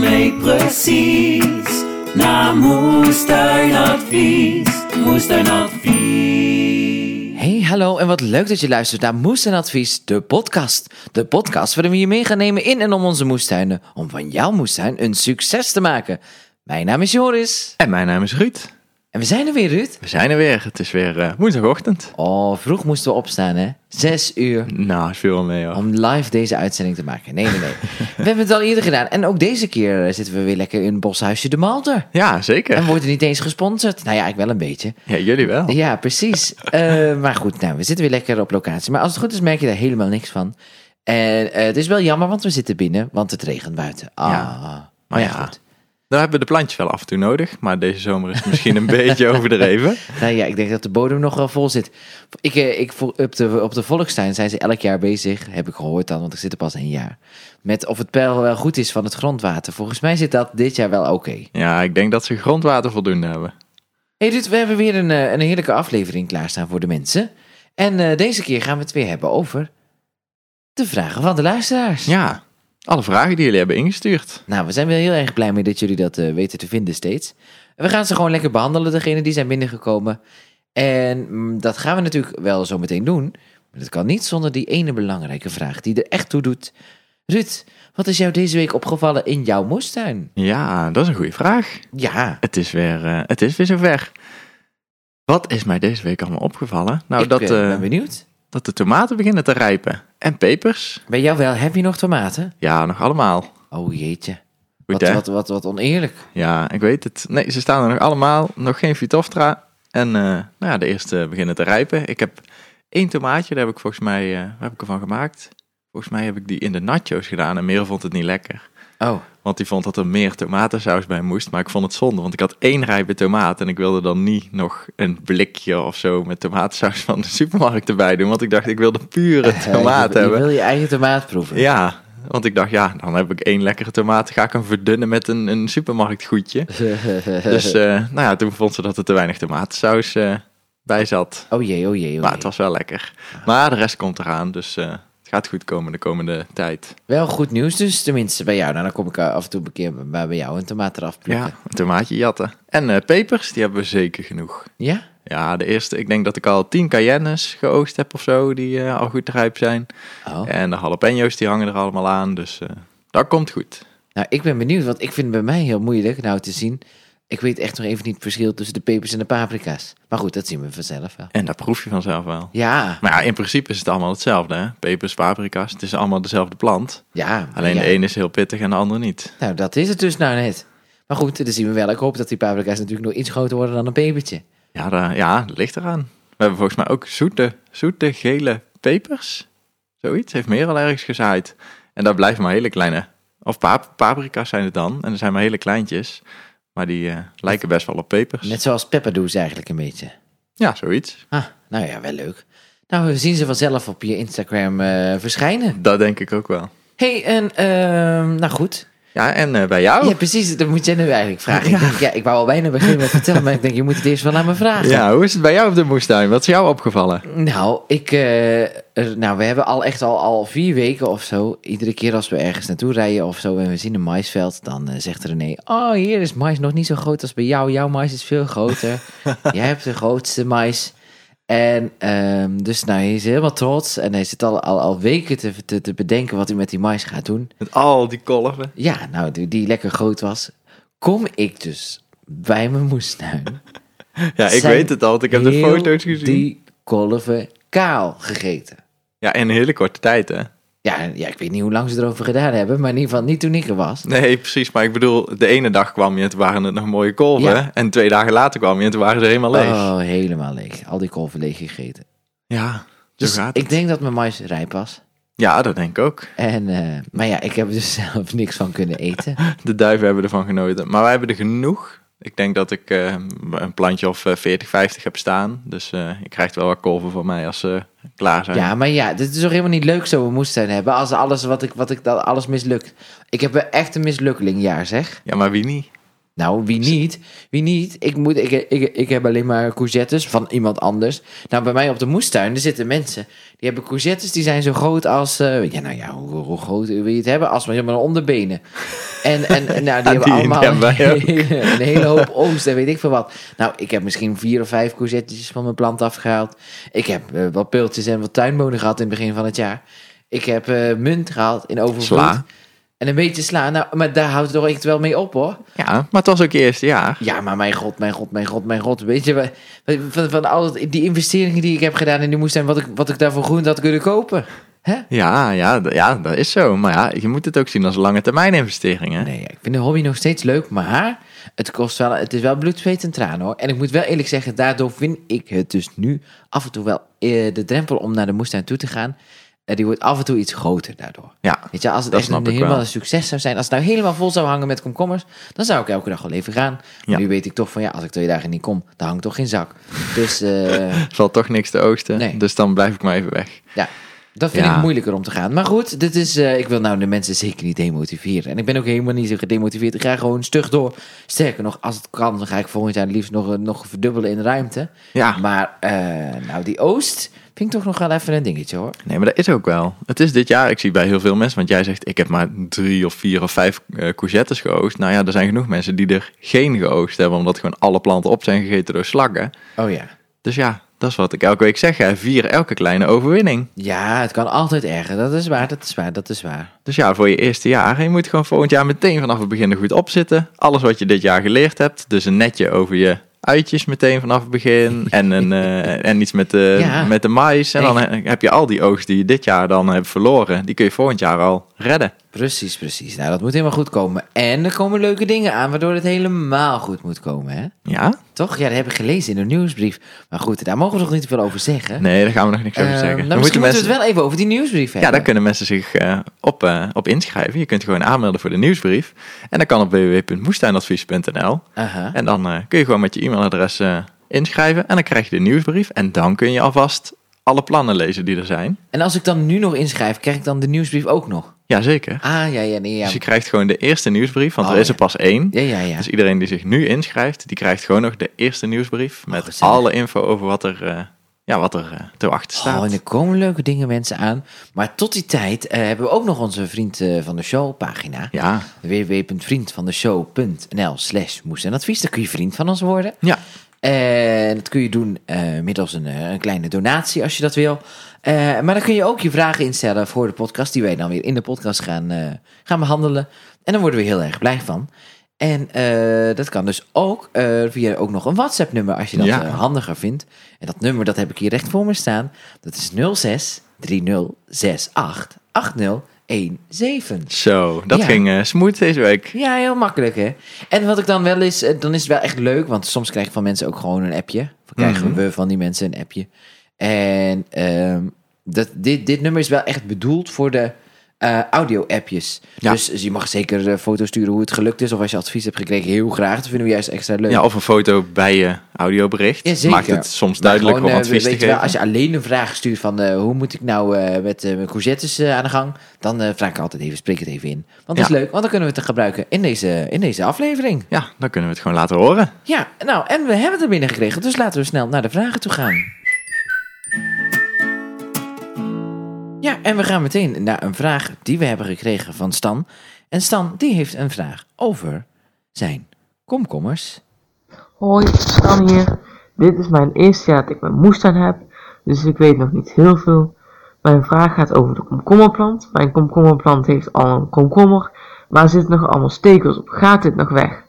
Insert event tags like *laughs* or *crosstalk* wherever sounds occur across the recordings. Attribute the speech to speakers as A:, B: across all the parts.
A: weet precies. Na moestuinadvies, moestuinadvies.
B: Hey, hallo en wat leuk dat je luistert naar Moes en Advies, de podcast. De podcast waarin we je mee gaan nemen in en om onze moestuinen, om van jouw moestuin een succes te maken. Mijn naam is Joris.
C: En mijn naam is Ruud.
B: En we zijn er weer, Ruud.
C: We zijn er weer. Het is weer eh, woensdagochtend.
B: Oh, vroeg moesten we opstaan, hè? Zes uur.
C: Nou, het viel wel mee hoor.
B: Om live deze uitzending te maken. Nee, nee, nee. We hebben het al eerder gedaan. En ook deze keer eh, zitten we weer lekker in Boshuisje de Malter.
C: Ja,
B: En
C: zeker.
B: we worden niet eens gesponsord. Nou ja, ik wel een beetje.
C: Eh, Ja, jullie wel.
B: Ja, precies. Eh, maar goed, nou, we zitten weer lekker op locatie. Maar als het goed is, merk je daar helemaal niks van. En eh, het is wel jammer, want we zitten binnen, want het regent buiten. Ah,
C: Ja.
B: maar ja,
C: ja.
B: goed.
C: Nou hebben we de plantjes wel af en toe nodig, maar deze zomer is het misschien *laughs* een beetje overdreven.
B: Nou ja, ik denk dat de bodem nog wel vol zit. Ik, eh, ik, vo- op, de, op de Volkstuin zijn ze elk jaar bezig, heb ik gehoord dan, want ik zit er pas een jaar. Met of het peil wel goed is van het grondwater. Volgens mij zit dat dit jaar wel oké.
C: Ja, ik denk dat ze grondwater voldoende hebben.
B: Hey Ruud, we hebben weer een, eh, een heerlijke aflevering klaarstaan voor de mensen. En eh, deze keer gaan we het weer hebben over de vragen van de luisteraars.
C: Ja, alle vragen die jullie hebben ingestuurd.
B: Nou, we zijn wel heel erg blij mee dat jullie dat eh, weten te vinden steeds. We gaan ze gewoon lekker behandelen, degenen die zijn binnengekomen. En mm, dat gaan we natuurlijk wel zo meteen doen. Maar dat kan niet zonder die ene belangrijke vraag die er echt toe doet. Ruud, wat is jou deze week opgevallen in jouw moestuin?
C: Ja, dat is een goede vraag.
B: Ja,
C: Het is weer, eh, het is weer zover. Wat is mij deze week allemaal opgevallen? Nou,
B: ik
C: dat,
B: eh,
C: eh,
B: ben benieuwd.
C: dat de tomaten beginnen te rijpen. En pepers.
B: Bij jou wel, heb je nog tomaten?
C: Ja, nog allemaal. Goed
B: Oh jeetje.
C: hè?
B: Wat, wat, wat, wat oneerlijk.
C: Ja, ik weet het. Nee, ze staan er nog allemaal. Nog geen Vitoftra. En eh, nou ja, de eerste beginnen te rijpen. Ik heb één tomaatje, daar heb ik volgens mij eh, waar heb ik ervan gemaakt. Volgens mij heb ik die in de nachos gedaan en Merel vond het niet lekker.
B: Oh,
C: Want die vond dat er meer tomatensaus bij moest. Maar ik vond het zonde, want ik had één rijpe tomaat. En ik wilde dan niet nog een blikje of zo met tomatensaus van de supermarkt erbij doen. Want ik dacht, ik wil de
B: *laughs*
C: pure
B: eh,
C: tomaat
B: je,
C: hebben.
B: Je wil je eigen tomaat proeven.
C: Ja, want ik dacht, ja, dan heb ik één lekkere tomaat. Ga ik hem verdunnen met een, een
B: *laughs*
C: supermarktgoedje. Dus eh, nou ja, toen vond ze dat er te weinig tomatensaus eh, bij zat.
B: *laughs* oh jee, oh jee, oh
C: Maar
B: jee.
C: het was wel lekker. Maar de rest komt eraan, dus eh, het gaat goed komen de komende tijd.
B: Wel goed nieuws dus, tenminste bij jou. Nou, dan kom ik af en toe een keer bij bij jou een tomaat eraf
C: Ja,
B: plukken.
C: een tomaatje jatten. En eh, pepers, die hebben we zeker genoeg.
B: Ja?
C: Ja, de eerste, ik denk dat ik al tien cayennes geoogst heb of zo, die eh, al goed rijp zijn.
B: Oh.
C: En de jalapeno's, die hangen er allemaal aan, dus eh, dat komt goed.
B: Nou, ik ben benieuwd, want ik vind het bij mij heel moeilijk nou te zien. Ik weet echt nog even niet het verschil tussen de pepers en de paprika's. Maar goed, dat zien we vanzelf wel.
C: En dat proef je vanzelf wel.
B: Ja,
C: Maar ja, in principe is het allemaal hetzelfde, hè? Pepers, paprika's, het is allemaal dezelfde plant.
B: ja.
C: Alleen
B: ja.
C: de ene is heel pittig en de andere niet.
B: Nou, dat is het dus nou net. Maar goed, dat zien we wel. Ik hoop dat die paprika's natuurlijk nog iets groter worden dan een pepertje.
C: Ja, daar- ja, dat ligt eraan. We hebben volgens mij ook zoete, zoete gele pepers. Zoiets heeft meer al ergens gezaaid. En dat blijven maar hele kleine. Of pap paprika's zijn het dan. En er zijn maar hele kleintjes. Maar die eh, lijken best wel op pepers.
B: Net zoals pepperdoes eigenlijk een beetje.
C: Ja, zoiets.
B: Ah, nou ja, wel leuk. Nou, we zien ze vanzelf op je Instagram eh, verschijnen.
C: Dat denk ik ook wel.
B: hey, en ehm, nou goed.
C: Ja, en eh, bij jou?
B: Ja, precies. Dat moet jij nu eigenlijk vragen. Ik, denk, ja, ik wou al bijna beginnen met vertellen, maar ik denk, je moet het eerst wel aan me vragen.
C: Ja, hoe is het bij jou op de moestuin? Wat is jou opgevallen?
B: Nou, ik, eh, er- nou, we hebben al echt al, al vier weken of zo. Iedere keer als we ergens naartoe rijden of zo en we zien een maisveld, dan eh, zegt René: Oh, hier is mais nog niet zo groot als bij jou. Jouw mais is veel groter. Jij hebt de grootste mais. En ehm, dus, nou, hij is helemaal trots en hij zit al, al, al weken te, te, te bedenken wat hij met die mais gaat doen.
C: Met al die kolven.
B: Ja, nou, die, die lekker groot was. Kom ik dus bij mijn moestuin.
C: Ja, ik
B: Zijn
C: weet het al, want *laughs* ik heb de
B: heel
C: foto's gezien.
B: Die kolven kaal gegeten.
C: Ja, in een hele korte tijd, hè?
B: Ja, en- ja, ik weet niet hoe lang ze erover gedaan hebben, maar in ieder geval niet toen ik er was.
C: Nee, precies. Maar ik bedoel, de ene dag kwam je en toen waren het nog mooie kolven.
B: Ja.
C: En twee dagen later kwam je en toen waren ze helemaal leeg.
B: Oh, helemaal leeg. Al die kolven leeg gegeten.
C: Ja, zo
B: Dus
C: gaat het.
B: ik denk dat mijn mais rijp was.
C: Ja, dat denk ik ook.
B: En, eh, maar ja, ik heb er dus *laughs* zelf niks van kunnen eten.
C: De duiven hebben ervan genoten. Maar wij hebben er genoeg. Ik denk dat ik eh, een plantje of eh, 40, 50 heb staan. Dus eh je krijgt wel wat kolven van mij als ze klaar zijn.
B: Ja, maar ja, dit is toch helemaal niet leuk zo een moestuin hebben als alles wat ik, wat ik dan alles mislukt. Ik heb echt een mislukkelingjaar, zeg.
C: Ja, maar wie niet?
B: Nou, wie niet? Wie niet? Ik, moet, ik, ik, ik heb alleen maar courgettes van iemand anders. Nou, bij mij op de moestuin, er zitten mensen. Die hebben courgettes, die zijn zo groot als... eh, ja, nou ja, hoe, hoe groot wil je het hebben? Als maar helemaal onderbenen. En, en en, nou, die
C: Ja,
B: hebben
C: die
B: allemaal
C: hebben wij ook.
B: een, hele, een hele hoop oogst en weet ik veel wat. Nou, ik heb misschien vier of vijf courgettes van mijn plant afgehaald. Ik heb eh, wat peultjes en wat tuinbonen gehad in het begin van het jaar. Ik heb eh, munt gehaald in overvloed.
C: Sla.
B: En een beetje sla. Nou, maar daar houdt het toch echt wel mee op, hoor.
C: Ja, maar het was ook je eerste jaar.
B: Ja, maar mijn god, mijn god, mijn god, mijn god. Weet je, wa- van, van al dat- die investeringen die ik heb gedaan in die moestuin, wat ik, wat ik daarvoor groen had kunnen kopen. Hè?
C: Ja, ja, d- ja, dat is zo. Maar ja, je moet het ook zien als lange termijn investering. Hè?
B: Nee, ik vind de hobby nog steeds leuk, maar het, kost wel, het is wel bloed, zweet en tranen hoor. En ik moet wel eerlijk zeggen, daardoor vind ik het dus nu af en toe wel eh, de drempel om naar de moestuin toe te gaan. eh, die wordt af en toe iets groter daardoor.
C: Ja,
B: Weet je, als het
C: Dat
B: echt
C: snap
B: een-
C: ik
B: helemaal
C: wel.
B: een succes zou zijn, als het nou helemaal vol zou hangen met komkommers, dan zou ik elke dag wel even gaan. Maar
C: Ja.
B: nu weet ik toch van ja, als ik twee dagen niet kom, dan hangt toch geen zak. Dus eh,
C: er valt toch niks te oogsten.
B: Nee.
C: Dus dan blijf ik maar even weg.
B: ja, dat vind
C: Ja.
B: ik moeilijker om te gaan. Maar goed, dit is, eh, ik wil nou de mensen zeker niet demotiveren. En ik ben ook helemaal niet zo gedemotiveerd. Ik ga gewoon stug door. Sterker nog, als het kan, dan ga ik volgend jaar liefst nog, eh, nog verdubbelen in ruimte.
C: Ja.
B: Maar eh, nou, die oost vind ik toch nog wel even een dingetje hoor.
C: Nee, maar dat is ook wel. Het is dit jaar, ik zie bij heel veel mensen, want jij zegt ik heb maar drie of vier of vijf eh, courgettes geoogst. Nou ja, er zijn genoeg mensen die er geen geoogst hebben, omdat gewoon alle planten op zijn gegeten door slakken.
B: Oh ja.
C: Dus ja, dat is wat ik elke week zeg. Hè. Vier elke kleine overwinning.
B: Ja, het kan altijd erger. Dat is waar, dat is waar, dat is waar.
C: Dus ja, voor je eerste jaar. Je moet gewoon volgend jaar meteen vanaf het begin er goed op zitten. Alles wat je dit jaar geleerd hebt. Dus een netje over je uitjes meteen vanaf het
B: *laughs*
C: begin. En, een, eh, en iets met de,
B: Ja.
C: met de mais. En dan he- heb je al die oogst die je dit jaar dan hebt verloren. Die kun je volgend jaar al redden.
B: Precies, precies. Nou, dat moet helemaal goed komen. En er komen leuke dingen aan, waardoor het helemaal goed moet komen, hè?
C: Ja?
B: Toch? Ja, dat heb ik gelezen in de nieuwsbrief. Maar goed, daar mogen we nog niet te veel over zeggen.
C: Nee, daar gaan we nog niks over
B: Eh,
C: zeggen.
B: nou,
C: Dan
B: misschien
C: moeten
B: moeten we
C: mensen,
B: het wel even over die nieuwsbrief hebben.
C: ja, daar kunnen mensen zich eh, op, eh, op inschrijven. Je kunt gewoon aanmelden voor de nieuwsbrief. En dat kan op www.moestuinadvies.nl.
B: Aha.
C: En dan eh, kun je gewoon met je e-mailadres eh, inschrijven en dan krijg je de nieuwsbrief. En dan kun je alvast alle plannen lezen die er zijn.
B: En als ik dan nu nog inschrijf, krijg ik dan de nieuwsbrief ook nog?
C: Jazeker.
B: Ah, ja, ja, nee, ja.
C: Dus je krijgt gewoon de eerste nieuwsbrief, want
B: Oh,
C: er is
B: ja.
C: er pas één.
B: Ja, ja, ja.
C: Dus iedereen die zich nu inschrijft, die krijgt gewoon nog de eerste nieuwsbrief. Met
B: Oh, gezellig.
C: alle info over wat er, eh, ja, wat er eh, te wachten staat.
B: Oh, en er komen leuke dingen mensen aan. Maar tot die tijd eh, hebben we ook nog onze Vriend eh, van de Show pagina.
C: Ja.
B: www.vriendvandeshow.nl slash moest en advies. Daar kun je vriend van ons worden.
C: Ja.
B: En dat kun je doen eh, middels een, eh, een kleine donatie als je dat wil. Eh, maar dan kun je ook je vragen instellen voor de podcast, die wij dan weer in de podcast gaan, eh, gaan behandelen. En dan worden we heel erg blij van. En eh, dat kan dus ook eh, via ook nog een WhatsApp-nummer als je dat
C: Ja.
B: eh, handiger vindt. En dat nummer dat heb ik hier recht voor me staan. Dat is 06 3068 8017.
C: Zo, dat
B: Ja.
C: ging eh, smooth deze week.
B: Ja, heel makkelijk hè. En wat ik dan wel is, eh, dan is het wel echt leuk, want soms krijg je van mensen ook gewoon een appje. Of krijgen
C: Mhm.
B: we van die mensen een appje. En ehm, dat, dit, dit nummer is wel echt bedoeld voor de eh, audio-appjes.
C: Ja.
B: Dus, je mag zeker eh, foto's sturen hoe het gelukt is, of als je advies hebt gekregen, heel graag. Dat vinden we juist extra leuk.
C: Ja, of een foto bij je audiobericht.
B: Ja, zeker.
C: Maakt het soms
B: Maar
C: duidelijk
B: gewoon,
C: om
B: eh,
C: advies
B: weet
C: te
B: je wel,
C: geven.
B: als je alleen een vraag stuurt van eh, hoe moet ik nou eh, met eh, mijn courgettes eh, aan de gang, dan eh, vraag ik altijd even, spreek het even in. Want dat is
C: Ja.
B: leuk, want dan kunnen we het gebruiken in deze, in deze aflevering.
C: Ja, dan kunnen we het gewoon laten horen.
B: Ja, nou, en we hebben het er binnen gekregen, dus laten we snel naar de vragen toe gaan. Ja, en we gaan meteen naar een vraag die we hebben gekregen van Stan. En Stan, die heeft een vraag over zijn komkommers.
D: Hoi, Stan hier. Dit is mijn eerste jaar dat ik mijn moestuin heb, dus ik weet nog niet heel veel. Mijn vraag gaat over de komkommerplant. Mijn komkommerplant heeft al een komkommer, maar er zitten nog allemaal stekels op. Gaat dit nog weg?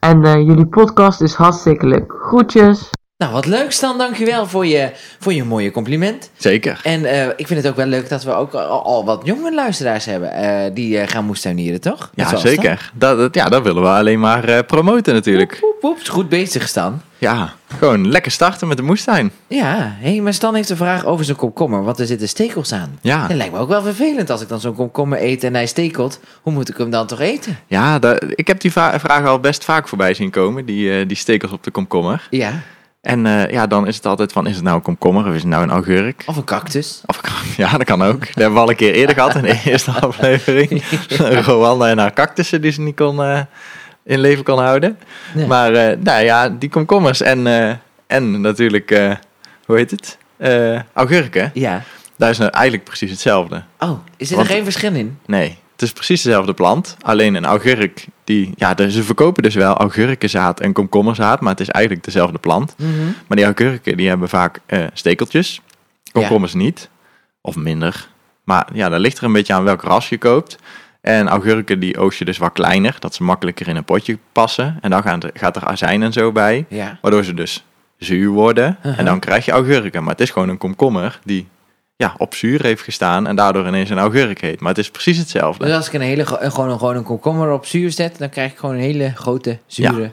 D: En eh, jullie podcast is hartstikke leuk. Groetjes!
B: Nou, wat leuk Stan, dankjewel voor je, voor je mooie compliment.
C: Zeker.
B: En eh, ik vind het ook wel leuk dat we ook al, al wat jonge luisteraars hebben eh, die eh, gaan moestuinieren, toch? Net
C: Ja,
B: zoals Stan.
C: zeker. Dat, dat- ja, dat willen we alleen maar eh, promoten natuurlijk.
B: Woep, woep, goed bezig Stan.
C: Ja, gewoon lekker starten met de moestuin.
B: Ja, hé, maar Stan heeft een vraag over zijn komkommer, want er zitten stekels aan.
C: Ja.
B: Ah, Dat lijkt me ook wel vervelend als ik dan zo'n komkommer eet en hij stekelt. Hoe moet ik hem dan toch eten?
C: Ja, da- ik heb die va- vraag al best vaak voorbij zien komen, die, eh, die stekels op de komkommer.
B: Ja,
C: En eh, ja, dan is het altijd van, is het nou een komkommer of is het nou een augurk?
B: of een cactus.
C: Of, ja, dat kan *laughs* ook. Dat hebben we al een *laughs* keer eerder gehad in de eerste aflevering. Rowanda en haar cactussen die ze niet kon eh, in leven kan houden.
B: Nee.
C: Maar eh, nou ja, die komkommers en, eh, en natuurlijk, eh, hoe heet het? Eh, augurken.
B: Ja.
C: Daar is nou eigenlijk precies hetzelfde.
B: Oh, is er
C: Want-
B: geen verschil in?
C: Nee, het is precies dezelfde plant. Alleen een augurk, die, ja, dus ze verkopen dus wel augurkenzaad en komkommerzaad, maar het is eigenlijk dezelfde plant.
B: Mhm.
C: Maar die augurken, die hebben vaak eh, stekeltjes. Komkommers niet, of minder. Maar ja, dat ligt er een beetje aan welk ras je koopt. En augurken, die oogst je dus wat kleiner, dat ze makkelijker in een potje passen. En dan gaan de- gaat er azijn en zo bij,
B: Ja.
C: waardoor ze dus zuur worden.
B: Uh-huh.
C: En dan krijg je augurken. Maar het is gewoon een komkommer die... Ja, op zuur heeft gestaan en daardoor ineens een augurk heet. Maar het is precies hetzelfde.
B: Dus als ik een hele, gro- een- gewoon, een, gewoon een komkommer op zuur zet, dan krijg ik gewoon een hele grote zure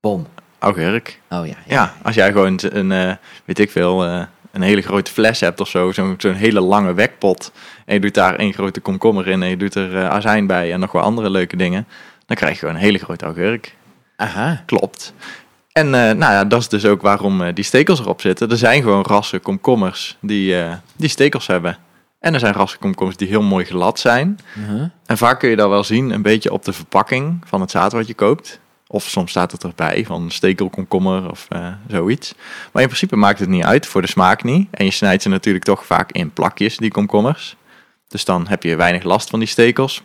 B: bom.
C: Augurk.
B: Oh ja.
C: Ja, als jij gewoon t- een, eh, weet ik veel, eh, een hele grote fles hebt of zo, zo'n zo'n hele lange wekpot. En je doet daar één grote komkommer in en je doet er eh, azijn bij en nog wel andere leuke dingen. Dan krijg je gewoon een hele grote augurk.
B: Aha.
C: Klopt. En eh, nou ja, dat is dus ook waarom eh, die stekels erop zitten. Er zijn gewoon rassen komkommers die, eh, die stekels hebben. En er zijn rassen komkommers die heel mooi glad zijn.
B: Mhm.
C: En vaak kun je dat wel zien, een beetje op de verpakking van het zaad wat je koopt. Of soms staat het erbij, van stekelkomkommer of eh, zoiets. Maar in principe maakt het niet uit, voor de smaak niet. En je snijdt ze natuurlijk toch vaak in plakjes, die komkommers. Dus dan heb je weinig last van die stekels.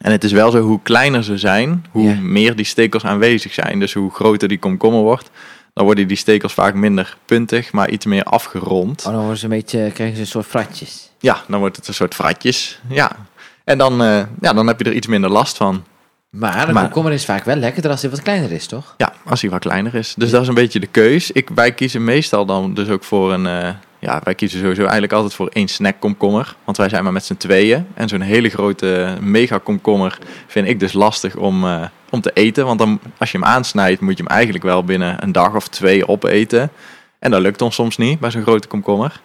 C: En het is wel zo, hoe kleiner ze zijn, hoe
B: Ja.
C: meer die stekels aanwezig zijn. Dus hoe groter die komkommer wordt, dan worden die stekels vaak minder puntig, maar iets meer afgerond.
B: Oh, dan worden ze een beetje, krijgen ze een soort fratjes.
C: Ja, dan wordt het een soort fratjes. Ja. En dan, eh, ja, dan heb je er iets minder last van.
B: Maar een
C: Maar-
B: komkommer is vaak wel lekkerder als hij wat kleiner is, toch?
C: Ja, als hij wat kleiner is. Dus dat is een beetje de keus. Ik, wij kiezen meestal dan dus ook voor een... eh, ja, wij kiezen sowieso eigenlijk altijd voor één snackkomkommer. Want wij zijn maar met z'n tweeën. En zo'n hele grote mega komkommer vind ik dus lastig om, eh, om te eten. Want dan, als je hem aansnijdt, moet je hem eigenlijk wel binnen een dag of twee opeten. En dat lukt ons soms niet bij zo'n grote komkommer.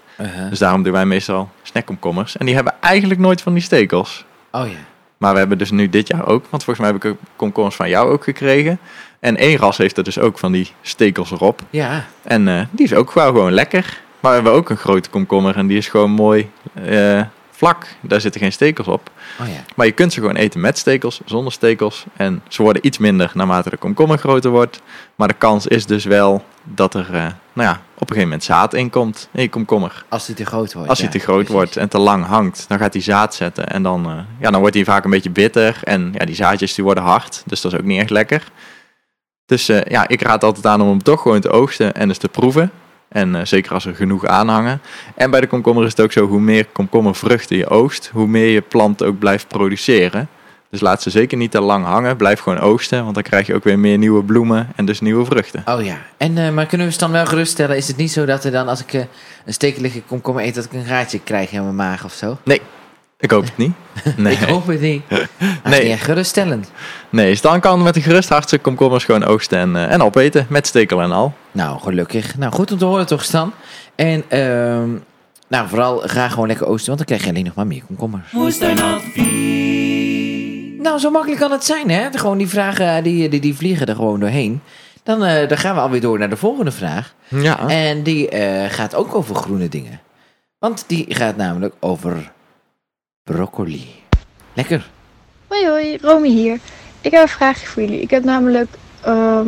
C: Dus daarom doen wij meestal snackkomkommers. En die hebben eigenlijk nooit van die stekels.
B: Oh ja.
C: Maar we hebben dus nu dit jaar ook, want volgens mij heb ik ook komkommers van jou ook gekregen. En één ras heeft er dus ook van die stekels erop.
B: Ja.
C: En eh, die is ook gewoon, gewoon lekker. Maar we hebben ook een grote komkommer en die is gewoon mooi eh, vlak. Daar zitten geen stekels op.
B: Oh ja.
C: Maar je kunt ze gewoon eten met stekels, zonder stekels. En ze worden iets minder naarmate de komkommer groter wordt. Maar de kans is dus wel dat er eh, nou ja, op een gegeven moment zaad in komt in je komkommer.
B: Als hij te groot wordt.
C: Als
B: ja,
C: hij te groot
B: precies.
C: wordt en te lang hangt, dan gaat hij zaad zetten. En dan, eh, ja, dan wordt hij vaak een beetje bitter. En ja, die zaadjes die worden hard. Dus dat is ook niet echt lekker. Dus eh, ja, ik raad altijd aan om hem toch gewoon te oogsten en eens te proeven. En eh, zeker als er genoeg aanhangen. En bij de komkommer is het ook zo, hoe meer komkommervruchten je oogst, hoe meer je plant ook blijft produceren. Dus laat ze zeker niet te lang hangen. Blijf gewoon oogsten, want dan krijg je ook weer meer nieuwe bloemen en dus nieuwe vruchten.
B: Oh ja. En, eh, maar kunnen we ze dan wel geruststellen? Is het niet zo dat er dan, als ik eh, een stekelige komkommer eet, dat ik een gaatje krijg in mijn maag of zo?
C: Nee, ik hoop *laughs* het niet. Nee.
B: Ik hoop het
C: *laughs*
B: niet.
C: Nee.
B: nee. geruststellend.
C: Nee, dus dan kan met een gerust hart zijn komkommers gewoon oogsten en, eh, en opeten. Met stekel en al.
B: Nou, gelukkig. Nou, goed om te horen toch, Stan? En, ehm, nou, vooral ga gewoon lekker oosten, want dan krijg je alleen nog maar meer komkommers.
A: Moestuinadvies.
B: Nou, zo makkelijk kan het zijn, hè? Gewoon die vragen, eh, die, die, die vliegen er gewoon doorheen. Dan, eh, dan gaan we alweer door naar de volgende vraag.
C: Ja.
B: En die eh, gaat ook over groene dingen. Want die gaat namelijk over broccoli. Lekker.
E: Hoi hoi, Romy hier. Ik heb een vraagje voor jullie. Ik heb namelijk ehm,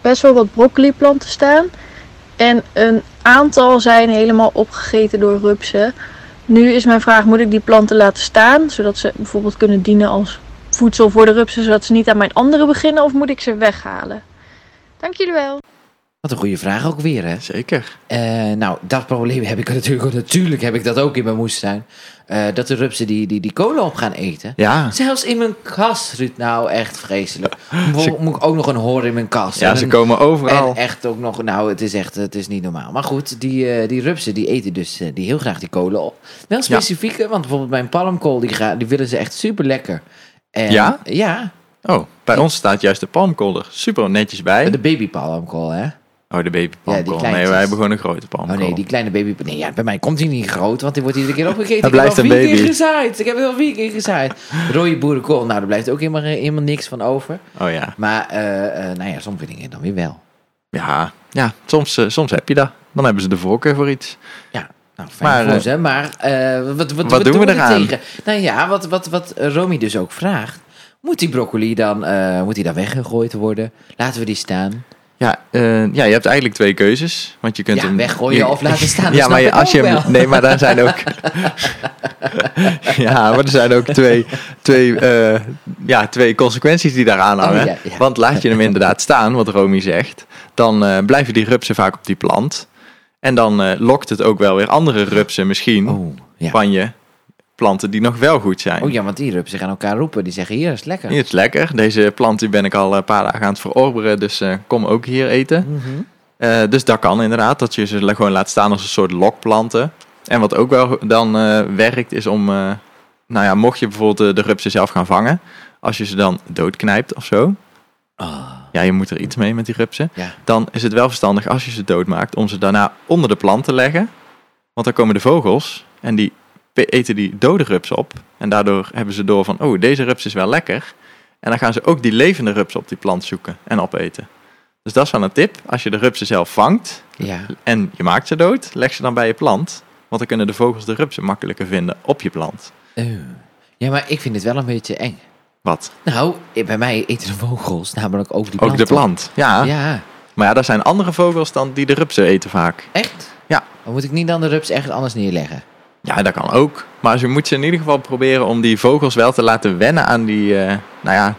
E: best wel wat broccoliplanten staan. En een aantal zijn helemaal opgegeten door rupsen. Nu is mijn vraag, moet ik die planten laten staan? Zodat ze bijvoorbeeld kunnen dienen als voedsel voor de rupsen. Zodat ze niet aan mijn andere beginnen. Of moet ik ze weghalen? Dank jullie wel.
B: Wat een goede vraag ook weer, hè?
C: Zeker.
B: Eh, nou, dat probleem heb ik natuurlijk *laughs* ook. Natuurlijk heb ik dat ook in mijn moestuin. Eh, dat de rupsen die, die, die kolen op gaan eten.
C: Ja.
B: Zelfs in mijn kast, Ruud. Nou, echt
C: *laughs*
B: vreselijk. Mo- Moet ik ook nog een horen in mijn kast.
C: Ja,
B: En
C: ze
B: een-
C: komen overal.
B: En echt ook nog, nou, het is echt, het is niet normaal. Maar goed, die, eh, die rupsen, die eten dus eh, die heel graag die kolen op. Wel specifieke, want bijvoorbeeld mijn palmkool, die, gra- die willen ze echt super lekker. En,
C: Ja?
B: Ja,
C: Oh, bij ons staat juist de palmkool er super netjes bij.
B: de babypalmkool, hè.
C: Oh, de
B: Ja, die
C: babypalmkool. nee,
B: kleintjes.
C: wij hebben gewoon een grote palmkool.
B: Oh nee, die kleine baby... Nee, ja, bij mij komt hij niet groot, want die wordt iedere keer
C: *laughs*
B: opgekeken.
C: Hij
B: Ik heb
C: blijft
B: er al
C: een
B: vier keer
C: baby.
B: gezaaid. Ik heb er al vier keer gezaaid. Rode boerenkool, nou, daar blijft ook helemaal, helemaal niks van over.
C: Oh ja.
B: Maar, eh, eh, nou ja, sommige dingen dan weer wel.
C: Ja, ja soms, eh, soms heb je dat. Dan hebben ze de voorkeur voor iets.
B: Ja, nou, fijn
C: Maar,
B: maar, voor
C: eh,
B: ze. Maar eh, wat, wat,
C: doen we
B: doen we
C: eraan?
B: tegen? Nou ja, wat, wat, wat Romy dus ook vraagt. Moet die broccoli dan, eh, moet die dan weggegooid worden? Laten we die staan.
C: Ja, eh, ja, je hebt eigenlijk twee keuzes. Want je kunt
B: Ja,
C: hem
B: weggooien
C: je- *laughs*
B: of laten staan, dat
C: Ja, maar
B: snap
C: je-
B: ik
C: als je
B: ook
C: hem.
B: wel.
C: Nee, maar daar zijn ook. *laughs* ja, maar er zijn ook twee, twee, eh, ja, twee consequenties die daaraan hangen.
B: ja, ja.
C: Want laat je hem inderdaad staan, wat Romy zegt, dan eh, blijven die rupsen vaak op die plant. En dan eh, lokt het ook wel weer andere rupsen misschien
B: Oh, ja.
C: van je planten die nog wel goed zijn.
B: Oh ja, want die rupsen gaan elkaar roepen. Die zeggen, hier is het lekker.
C: Hier is lekker. Deze plant die ben ik al een paar dagen aan het verorberen, dus eh, kom ook hier eten.
B: Mhm.
C: Eh, dus dat kan inderdaad, dat je ze gewoon laat staan als een soort lokplanten. En wat ook wel dan eh, werkt, is om, eh, nou ja, mocht je bijvoorbeeld eh, de rupsen zelf gaan vangen, als je ze dan doodknijpt of zo,
B: Ah,
C: ja, je moet er iets mee met die rupsen,
B: ja.
C: dan is het wel verstandig als je ze doodmaakt om ze daarna onder de plant te leggen. Want dan komen de vogels en die pe- eten die dode rups op. En daardoor hebben ze door van, oh, deze rups is wel lekker. En dan gaan ze ook die levende rups op die plant zoeken en opeten. Dus dat is wel een tip. Als je de rupsen zelf vangt,
B: ja.
C: en je maakt ze dood, leg ze dan bij je plant. Want dan kunnen de vogels de rupsen makkelijker vinden op je plant.
B: Eh. ja, maar ik vind het wel een beetje eng.
C: Wat?
B: Nou, eh, bij mij eten de vogels namelijk ook die plant.
C: Ook de plant. Ja.
B: op. Ja,
C: Maar ja, daar zijn andere vogels dan die de rupsen eten vaak.
B: echt?
C: Ja.
B: Dan moet ik niet dan de rups ergens anders neerleggen.
C: Ja, dat kan ook. Maar je moet ze in ieder geval proberen om die vogels wel te laten wennen aan die, eh, nou ja,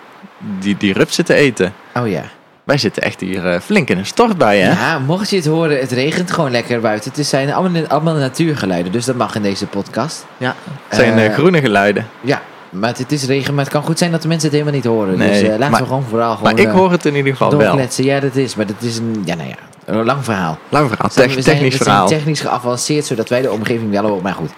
C: die, die rupsen te eten.
B: Oh ja.
C: Wij zitten echt hier eh, flink in een stort bij, hè?
B: Ja, mocht je het horen, het regent gewoon lekker buiten. Het zijn allemaal, allemaal natuurgeluiden, dus dat mag in deze podcast.
C: Ja. Het zijn eh,
B: Eh,
C: groene geluiden.
B: Ja, maar het, het is regen, maar het kan goed zijn dat de mensen het helemaal niet horen. dus
C: Nee,
B: eh, laten
C: maar-
B: we gewoon vooral gewoon
C: Maar ik
B: eh,
C: hoor het in ieder geval wel.
B: doorkletsen. Ja, dat is, maar dat is een, ja, nou ja, een lang verhaal.
C: Lang verhaal,
B: We zijn-
C: tech-
B: we zijn-
C: technisch
B: we zijn
C: verhaal.
B: technisch geavanceerd, zodat wij de omgeving wel horen. Maar goed,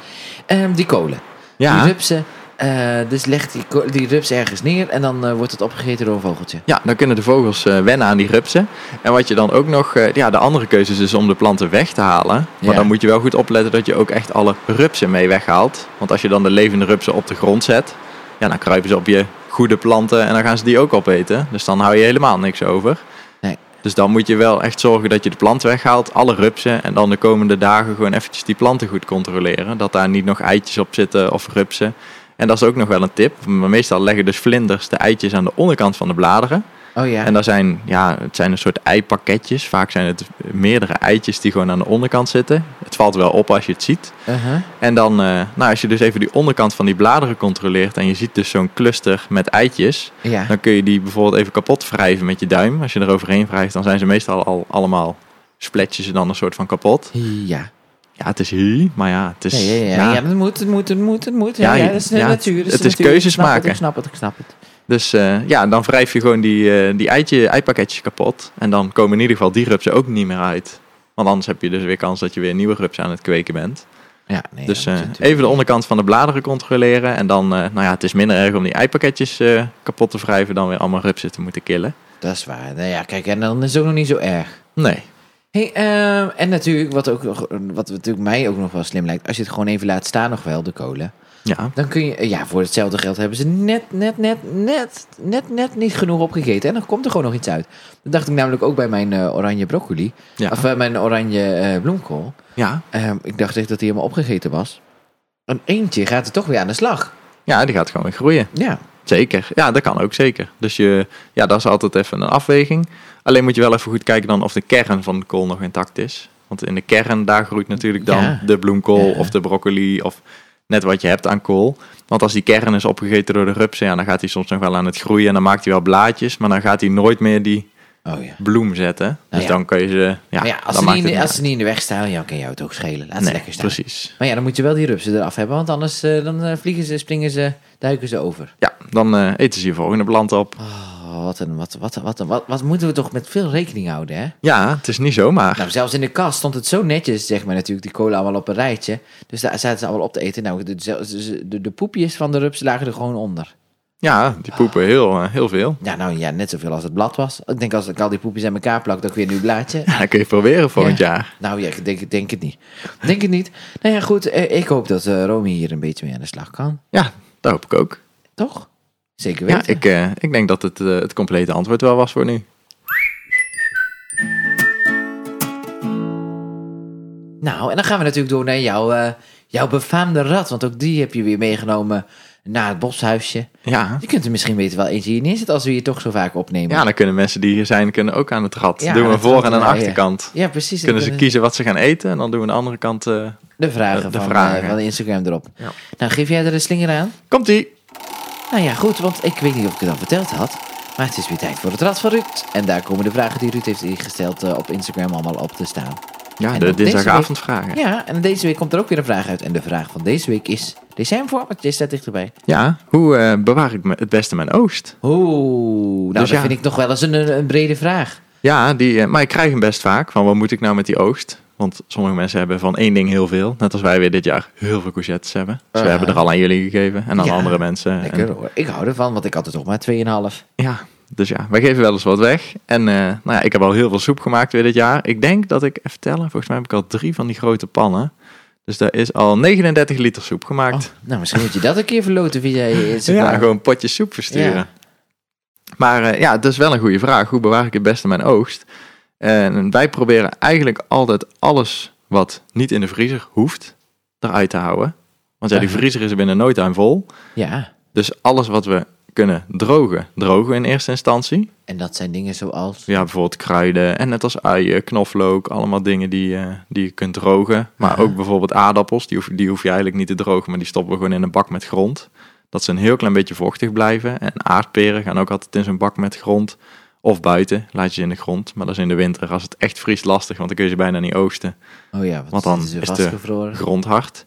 B: Ehm, die kolen. Die
C: Ja.
B: rupsen, eh, dus legt die, ko- die rups ergens neer en dan eh, wordt het opgegeten door een vogeltje.
C: Ja, dan kunnen de vogels eh, wennen aan die rupsen. En wat je dan ook nog, eh, ja, de andere keuze is dus om de planten weg te halen. Maar
B: Ja.
C: dan moet je wel goed opletten dat je ook echt alle rupsen mee weghaalt. Want als je dan de levende rupsen op de grond zet, ja, dan kruipen ze op je goede planten en dan gaan ze die ook opeten. Dus dan hou je helemaal niks over.
B: Nee.
C: Dus dan moet je wel echt zorgen dat je de plant weghaalt, alle rupsen. En dan de komende dagen gewoon eventjes die planten goed controleren. Dat daar niet nog eitjes op zitten of rupsen. En dat is ook nog wel een tip. Maar meestal leggen dus vlinders de eitjes aan de onderkant van de bladeren.
B: Oh ja,
C: En daar zijn, ja, het zijn een soort eipakketjes. Vaak zijn het meerdere eitjes die gewoon aan de onderkant zitten. Het valt wel op als je het ziet.
B: Uh-huh.
C: En dan, eh, nou, als je dus even die onderkant van die bladeren controleert en je ziet dus zo'n cluster met eitjes,
B: ja.
C: dan kun je die bijvoorbeeld even kapot wrijven met je duim. Als je er overheen wrijft, dan zijn ze meestal al allemaal, splet je ze dan een soort van kapot.
B: Ja.
C: Ja, het is hi, maar ja, het is...
B: Ja, ja, ja. Dus ja. het moet, het moet, het moet, het moet. Ja,
C: Ja,
B: ja,
C: je-
B: dat is de
C: ja,
B: natuur. dat
C: het
B: de
C: is
B: natuur.
C: keuzes
B: Ik snap het,
C: maken.
B: ik snap het, ik snap het.
C: Dus eh, ja, dan wrijf je gewoon die, eh, die, eitje, eipakketjes kapot. En dan komen in ieder geval die rupsen ook niet meer uit. Want anders heb je dus weer kans dat je weer nieuwe rupsen aan het kweken bent.
B: Ja, nee,
C: dus
B: dat
C: eh,
B: moet natuurlijk.
C: even de onderkant van de bladeren controleren. En dan, eh, nou ja, het is minder erg om die eipakketjes eh, kapot te wrijven dan weer allemaal rupsen te moeten killen.
B: Dat is waar. Nou ja, kijk, en dan is het ook nog niet zo erg.
C: Nee.
B: Hey, ehm, en natuurlijk, wat, ook, nog- wat natuurlijk mij ook nog wel slim lijkt, als je het gewoon even laat staan nog wel, de kolen,
C: Ja.
B: dan kun je, ja, voor hetzelfde geld hebben ze net, net, net, net, net, net niet genoeg opgegeten. En dan komt er gewoon nog iets uit. Dat dacht ik namelijk ook bij mijn eh, oranje broccoli,
C: Ja.
B: of bij mijn oranje eh, bloemkool.
C: Ja.
B: Ehm, ik dacht echt dat die helemaal opgegeten was. Een eentje gaat er toch weer aan de slag.
C: ja, die gaat gewoon weer groeien.
B: Ja,
C: Zeker. Ja, dat kan ook zeker. Dus je, ja, dat is altijd even een afweging. Alleen moet je wel even goed kijken dan of de kern van de kool nog intact is. Want in de kern, daar groeit natuurlijk dan
B: Ja.
C: de bloemkool
B: Ja.
C: of de broccoli of net wat je hebt aan kool. Want als die kern is opgegeten door de rupsen, ja, dan gaat hij soms nog wel aan het groeien en dan maakt hij wel blaadjes, maar dan gaat hij nooit meer die
B: oh ja.
C: bloem zetten. Dus
B: ja.
C: dan kan je ze... Ja,
B: Maar ja,
C: dan
B: als, ze
C: maakt
B: niet, in
C: het
B: de, als
C: niet
B: ze niet in de weg staan, ja, kan jou het ook schelen. Laat
C: uit.
B: ze
C: Nee,
B: lekker staan.
C: precies.
B: Maar ja, dan moet je wel die rupsen eraf hebben, want anders eh, dan eh, vliegen ze, springen ze, duiken ze over.
C: Ja, dan eh, eten ze je volgende plant op.
B: Oh, wat, een, wat, wat, wat, een- wat, wat moeten we toch met veel rekening houden, hè?
C: Ja, het is niet zomaar.
B: Nou, zelfs in de kast stond het zo netjes, zeg maar natuurlijk, die kolen allemaal op een rijtje. Dus daar zaten ze allemaal op te eten. Nou, de, zelfs- de, de, de poepjes van de rupsen lagen er gewoon onder.
C: Ja, die poepen heel, eh, heel veel.
B: Ja, nou ja, net zoveel als het blad was. Ik denk als ik al die poepjes aan elkaar plak, dat ik weer een nieuw blaadje.
C: *laughs* Ja, dat kun je proberen volgend
B: Ja.
C: jaar.
B: Nou ja, ik denk, ik denk het niet. Ik Denk het niet. Nou ja, goed, eh, ik hoop dat eh, Romy hier een beetje mee aan de slag kan.
C: Ja, dat hoop ik ook.
B: Toch? Zeker
C: Ja,
B: weten.
C: ik, eh, ik denk dat het eh, het complete antwoord wel was voor nu.
B: Nou, en dan gaan we natuurlijk door naar jouw, eh, jouw befaamde rat. Want ook die heb je weer meegenomen naar het boshuisje.
C: Ja.
B: Je kunt er misschien beter wel eentje hier neerzetten als we hier toch zo vaak opnemen.
C: ja, dan kunnen mensen die hier zijn kunnen ook aan het rad.
B: Ja,
C: doen
B: aan
C: we een
B: het
C: voor-
B: rad
C: en een
B: draaien.
C: achterkant.
B: Ja, precies. Dan
C: Kunnen ze kiezen wat ze gaan eten en dan doen we aan de andere kant... eh,
B: De vragen,
C: De
B: van,
C: vragen.
B: eh, van Instagram erop. Nou, geef jij er een slinger aan?
C: Komt-ie!
B: Nou ja, goed, want ik weet niet of ik het al verteld had. Maar het is weer tijd voor het Rad van Ruud. En daar komen de vragen die Ruud heeft ingesteld eh, op Instagram allemaal op te staan.
C: Ja,
B: En
C: Ah, de
B: dan deze
C: dinsdagavondvragen. Ja.
B: Ja, en deze week komt er ook weer een vraag uit. En de vraag van deze week is... Deze zijn voor, want je staat dichterbij.
C: hoe eh, bewaar ik me- het beste mijn oogst?
B: Oeh, nou
C: Dus
B: dat
C: ja.
B: vind ik nog wel eens een, een, een brede vraag.
C: Ja, die, eh, maar ik krijg hem best vaak. Van wat moet ik nou met die oogst? Want sommige mensen hebben van één ding heel veel. Net als wij weer dit jaar heel veel courgettes hebben. Dus we
B: Ah.
C: hebben er al aan jullie gegeven en aan
B: Ja.
C: andere mensen. En-
B: Lekker hoor. Ik hou ervan, want ik had er toch maar 2,5.
C: ja, dus ja, wij geven wel eens wat weg. En eh, nou ja, ik heb al heel veel soep gemaakt weer dit jaar. Ik denk dat ik, even tellen, volgens mij heb ik al drie van die grote pannen. Dus daar is al 39 liter soep
B: Oh,
C: gemaakt.
B: nou, misschien moet je dat een keer verloten
C: *laughs*
B: via je Instagram.
C: ja, gewoon potjes soep versturen.
B: Ja.
C: Maar eh, ja, het is wel een goede vraag. Hoe bewaar ik het beste mijn oogst? En wij proberen eigenlijk altijd alles wat niet in de vriezer hoeft, eruit te houden. Want ja, die
B: Aha.
C: vriezer is er binnen nooit aan vol.
B: Ja,
C: Dus alles wat we kunnen drogen, drogen we in eerste instantie.
B: en dat zijn dingen zoals...
C: Ja, bijvoorbeeld kruiden en net als uien, knoflook, allemaal dingen die, eh, die je kunt drogen. Maar ook bijvoorbeeld aardappels, die hoef, die hoef je eigenlijk niet te drogen, maar die stoppen we gewoon in een bak met grond. Dat ze een heel klein beetje vochtig blijven. En aardperen gaan ook altijd in zo'n bak met grond. Of buiten, laat je ze in de grond. Maar dat is in de winter, als het echt vriest, lastig, want dan kun je ze bijna niet oogsten.
B: Oh ja, want,
C: Want dan
B: het is weer
C: is de-
B: vastgevroren.
C: Grondhard.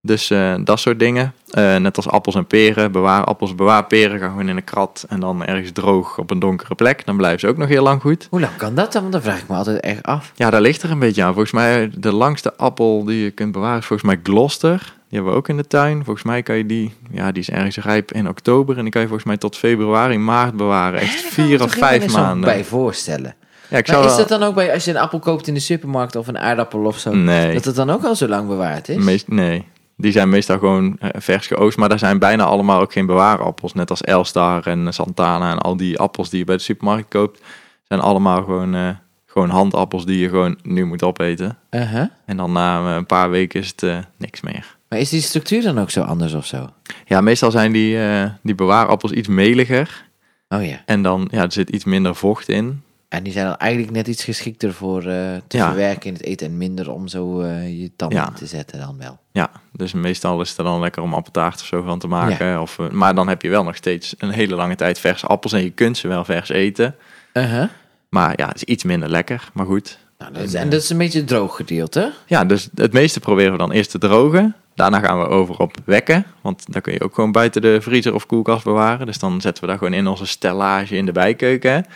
C: Dus eh, dat soort dingen. Eh, net als appels en peren, bewaar appels, bewaar peren, gaan gewoon in een krat. En dan ergens droog op een donkere plek, dan blijven ze ook nog heel lang goed.
B: Hoe lang kan dat dan? Want dan vraag ik me altijd echt af.
C: Ja, daar ligt er een beetje aan. Volgens mij de langste appel die je kunt bewaren is volgens mij Gloucester. Die hebben we ook in de tuin. Volgens mij kan je die, ja, die is ergens rijp in oktober. En die kan je volgens mij tot februari, maart bewaren. Echt vier of vijf maanden.
B: bij voorstellen.
C: Ja, ik
B: Maar
C: zou
B: is
C: wel-
B: dat dan ook bij als je een appel koopt in de supermarkt of een aardappel of zo?
C: Nee.
B: Dat het dan ook al zo lang bewaard is?
C: Meest, nee, die zijn meestal gewoon eh, vers geoogst. Maar daar zijn bijna allemaal ook geen bewaarappels. Net als Elstar en Santana en al die appels die je bij de supermarkt koopt. Zijn allemaal gewoon, eh, gewoon handappels die je gewoon nu moet opeten.
B: Uh-huh.
C: En dan na eh, een paar weken is het eh, niks meer.
B: Maar is die structuur dan ook zo anders of zo?
C: Ja, meestal zijn die, eh, die bewaarappels iets meliger.
B: Oh ja.
C: En dan ja, er zit iets minder vocht in.
B: En die zijn dan eigenlijk net iets geschikter voor eh, te
C: Ja.
B: verwerken in het eten en minder om zo eh, je tanden
C: Ja.
B: in te zetten dan wel.
C: Ja, dus meestal is het er dan lekker om appeltaart of zo van te maken. Of, eh, maar dan heb je wel nog steeds een hele lange tijd verse appels. En je kunt ze wel vers eten.
B: Uh-huh.
C: Maar ja, het is iets minder lekker. Maar goed.
B: Nou, dat is, en dat is een beetje het droog gedeelte.
C: Ja, dus het meeste proberen we dan eerst te drogen. Daarna gaan we over op wekken. Want dan kun je ook gewoon buiten de vriezer of koelkast bewaren. Dus dan zetten we daar gewoon in onze stellage in de bijkeuken.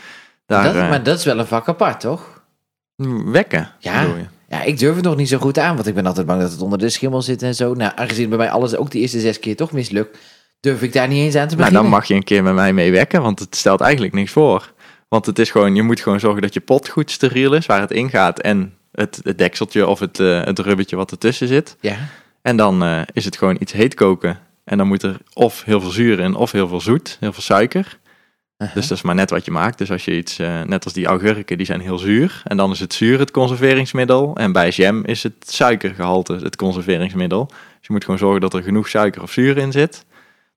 C: Daar
B: dat,
C: eh,
B: maar dat is wel een vak apart, toch?
C: wekken,
B: Ja.
C: bedoel je?
B: Ja, ik durf het nog niet zo goed aan, want ik ben altijd bang dat het onder de schimmel zit en zo. Nou, aangezien bij mij alles ook die eerste zes keer toch mislukt, durf ik daar niet eens aan te
C: Nou,
B: beginnen.
C: dan mag je een keer met mij mee wekken, want het stelt eigenlijk niks voor. Want het is gewoon, je moet gewoon zorgen dat je pot goed steriel is, waar het in gaat. En het, het dekseltje of het, eh het rubbertje wat ertussen zit.
B: Ja.
C: En dan eh, is het gewoon iets heet koken. En dan moet er of heel veel zuur in, of heel veel zoet, heel veel suiker. Dus dat is maar net wat je maakt. Dus als je iets, eh, net als die augurken, die zijn heel zuur. En dan is het zuur het conserveringsmiddel. En bij jam is het suikergehalte het conserveringsmiddel. Dus je moet gewoon zorgen dat er genoeg suiker of zuur in zit.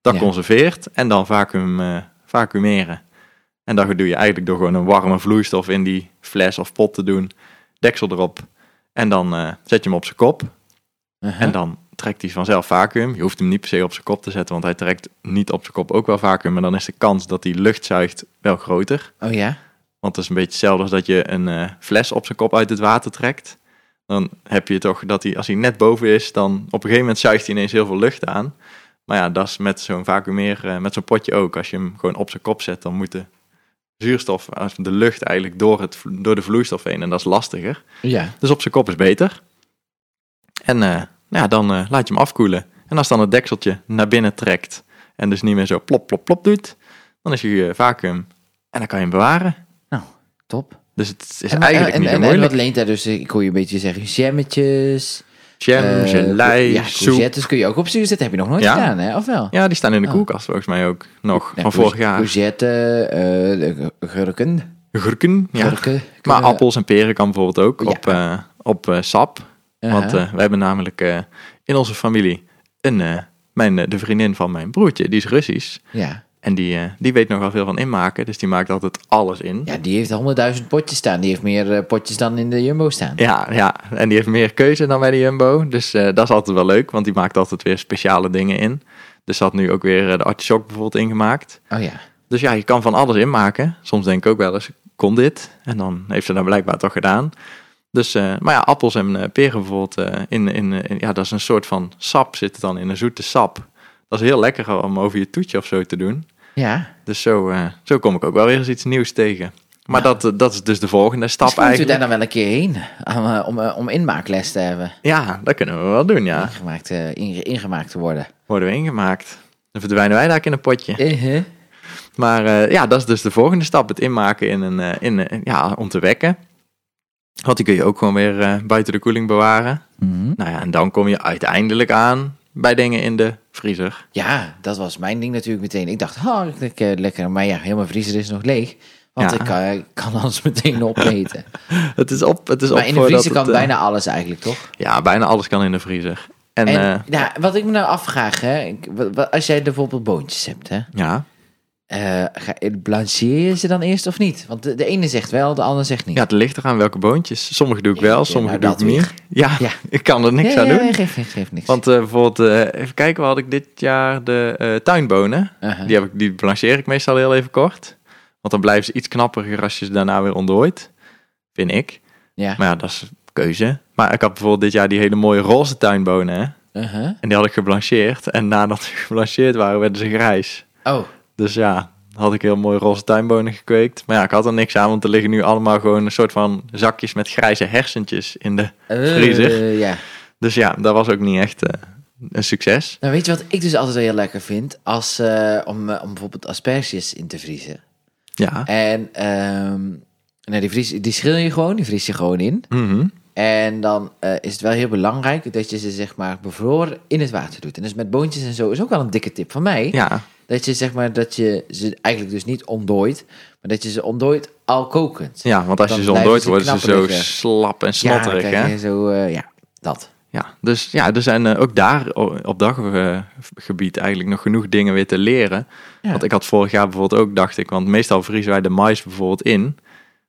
C: Dat
B: Ja.
C: conserveert en dan vacuüm, eh, vacuümeren. En dat doe je eigenlijk door gewoon een warme vloeistof in die fles of pot te doen. Deksel erop. En dan eh, zet je hem op zijn kop.
B: Uh-huh.
C: En dan trekt hij vanzelf vacuüm. Je hoeft hem niet per se op zijn kop te zetten, want hij trekt niet op zijn kop ook wel vacuüm. Maar dan is de kans dat hij lucht zuigt wel groter.
B: Oh ja?
C: Want het is een beetje hetzelfde als dat je een eh, fles op zijn kop uit het water trekt. Dan heb je toch dat hij, als hij net boven is, dan op een gegeven moment zuigt hij ineens heel veel lucht aan. Maar ja, dat is met zo'n vacuümeer, eh, met zo'n potje ook. Als je hem gewoon op zijn kop zet, dan moet de zuurstof, eh, de lucht eigenlijk door, het, vlo- door de vloeistof heen. En dat is lastiger.
B: Ja.
C: Dus op zijn kop is beter. En eh, nou ja, dan eh, laat je hem afkoelen. En als dan het dekseltje naar binnen trekt en dus niet meer zo plop, plop, plop doet, dan is je eh, vacuüm en dan kan je hem bewaren.
B: Nou, Top.
C: Dus het is
B: En- eh,
C: eigenlijk
B: en,
C: niet zo
B: en, en
C: moeilijk.
B: wat leent daar dus? Ik hoor je een beetje zeggen jammetjes.
C: Jam,
B: eh,
C: gelei,
B: ja,
C: soep.
B: courgettes kun je ook op zuur zetten. Heb je nog nooit
C: Ja.
B: gedaan, hè? Of wel?
C: Ja, die staan in de
B: Oh.
C: koelkast volgens mij ook nog,
B: Nou,
C: van
B: cour-
C: vorig jaar.
B: Courgette, eh, de gurken.
C: Gurken, ja.
B: gurken
C: Maar
B: kunnen-
C: appels en peren kan bijvoorbeeld ook
B: Ja.
C: op, eh, op eh, sap.
B: Aha.
C: Want eh, wij hebben namelijk eh, in onze familie een eh mijn, eh, de vriendin van mijn broertje, die is Russisch.
B: Ja.
C: En die, eh, die weet nogal veel van inmaken, dus die maakt altijd alles in.
B: ja, die heeft honderdduizend potjes staan. Die heeft meer eh, potjes dan in de Jumbo staan.
C: Ja, ja, en die heeft meer keuze dan bij de Jumbo. Dus eh, dat is altijd wel leuk, want die maakt altijd weer speciale dingen in. Dus ze had nu ook weer eh, de artichok bijvoorbeeld ingemaakt.
B: Oh ja.
C: Dus ja, je kan van alles inmaken. Soms denk ik ook wel eens, kon dit? En dan heeft ze dat blijkbaar toch gedaan. Dus, eh, maar ja, appels en eh, peren bijvoorbeeld, eh, in, in, eh, in- ja, dat is een soort van sap zit het dan, in een zoete sap. Dat is heel lekker om over je toetje of zo te doen.
B: Ja.
C: Dus zo, eh, zo kom ik ook wel weer eens iets nieuws tegen. Maar dat, eh, dat is dus de volgende stap
B: Misschien moeten we daar
C: eigenlijk.
B: dan wel een keer heen. Om, eh, om, eh, om inmaakles te hebben.
C: Ja, dat kunnen we wel doen, ja.
B: Ingemaakt, eh, inge- ingemaakt te worden.
C: Worden we ingemaakt. Dan verdwijnen wij daar in een potje.
B: Eh,
C: Maar eh, ja, dat is dus de volgende stap. Het inmaken in een, eh, in, een- ja, om te wekken. Want die kun je ook gewoon weer eh, buiten de koeling bewaren.
B: Mhm.
C: Nou ja, en dan kom je uiteindelijk aan bij dingen in de vriezer.
B: Ja, dat was mijn ding natuurlijk meteen. Ik dacht, oh, ik, eh, lekker. Maar ja, heel mijn vriezer is nog leeg. Want
C: Ja.
B: ik kan, ik kan alles *laughs* meteen opeten.
C: Het is op, het is op
B: maar in de
C: voordat
B: vriezer kan
C: het, eh,
B: bijna alles eigenlijk, toch?
C: Ja, bijna alles kan in de vriezer. En,
B: En
C: eh,
B: ja, wat ik me nou afvraag, hè, ik- wat- wat- als jij bijvoorbeeld boontjes hebt, hè,
C: ja.
B: eh, ga, blancheer je ze dan eerst of niet? Want de, de ene zegt wel, de ander zegt niet.
C: ja, het ligt eraan welke boontjes. Sommige doe ik wel,
B: Jeetje,
C: sommige
B: nou
C: doe ik
B: dat
C: niet. Ja,
B: Ja.
C: *laughs* ik kan er niks
B: Ja,
C: aan
B: ja,
C: doen.
B: nee, geeft, geeft, geeft niks.
C: Want eh, bijvoorbeeld, eh, even kijken, wat had ik dit jaar de eh, tuinbonen.
B: Aha.
C: Die, heb ik, die blancheer ik meestal heel even kort. Want dan blijven ze iets knapperiger als je ze daarna weer ontdooit. Vind ik.
B: ja.
C: Maar ja, dat is keuze. Maar ik had bijvoorbeeld dit jaar die hele mooie roze tuinbonen. Hè?
B: Uh-huh.
C: En die had ik geblancheerd. En nadat *laughs* ze geblancheerd waren, werden ze grijs.
B: Oh,
C: Dus ja, had ik heel mooi roze tuinbonen gekweekt. Maar ja, ik had er niks aan, want er liggen nu allemaal gewoon een soort van zakjes met grijze hersentjes in de
B: eh,
C: vriezer.
B: ja.
C: Dus ja, dat was ook niet echt eh, een succes.
B: Nou, weet je wat ik dus altijd heel lekker vind? Als, eh, om, eh, om bijvoorbeeld asperges in te vriezen.
C: Ja.
B: En ehm, nou, die, vries, die schil je gewoon, die vries je gewoon in.
C: Mhm.
B: En dan eh, is het wel heel belangrijk dat je ze zeg maar bevroren in het water doet. En dus met boontjes en zo is ook wel een dikke tip van mij.
C: Ja,
B: Dat je zeg maar dat je ze eigenlijk dus niet ontdooit, maar dat je ze ontdooit al kokend.
C: ja, want als
B: Dan
C: je ze
B: blijven
C: ontdooid
B: ze
C: wordt, is ze zo
B: knapperig, hè?
C: slap en
B: Ja, dan
C: snotterig.
B: krijg
C: hè?
B: je zo, eh, ja, dat.
C: Ja, dus ja, er zijn eh, ook daar o- op dat ge- gebied eigenlijk nog genoeg dingen weer te leren.
B: Ja.
C: Want ik had vorig jaar bijvoorbeeld ook, dacht ik, want meestal vriezen wij de mais bijvoorbeeld in.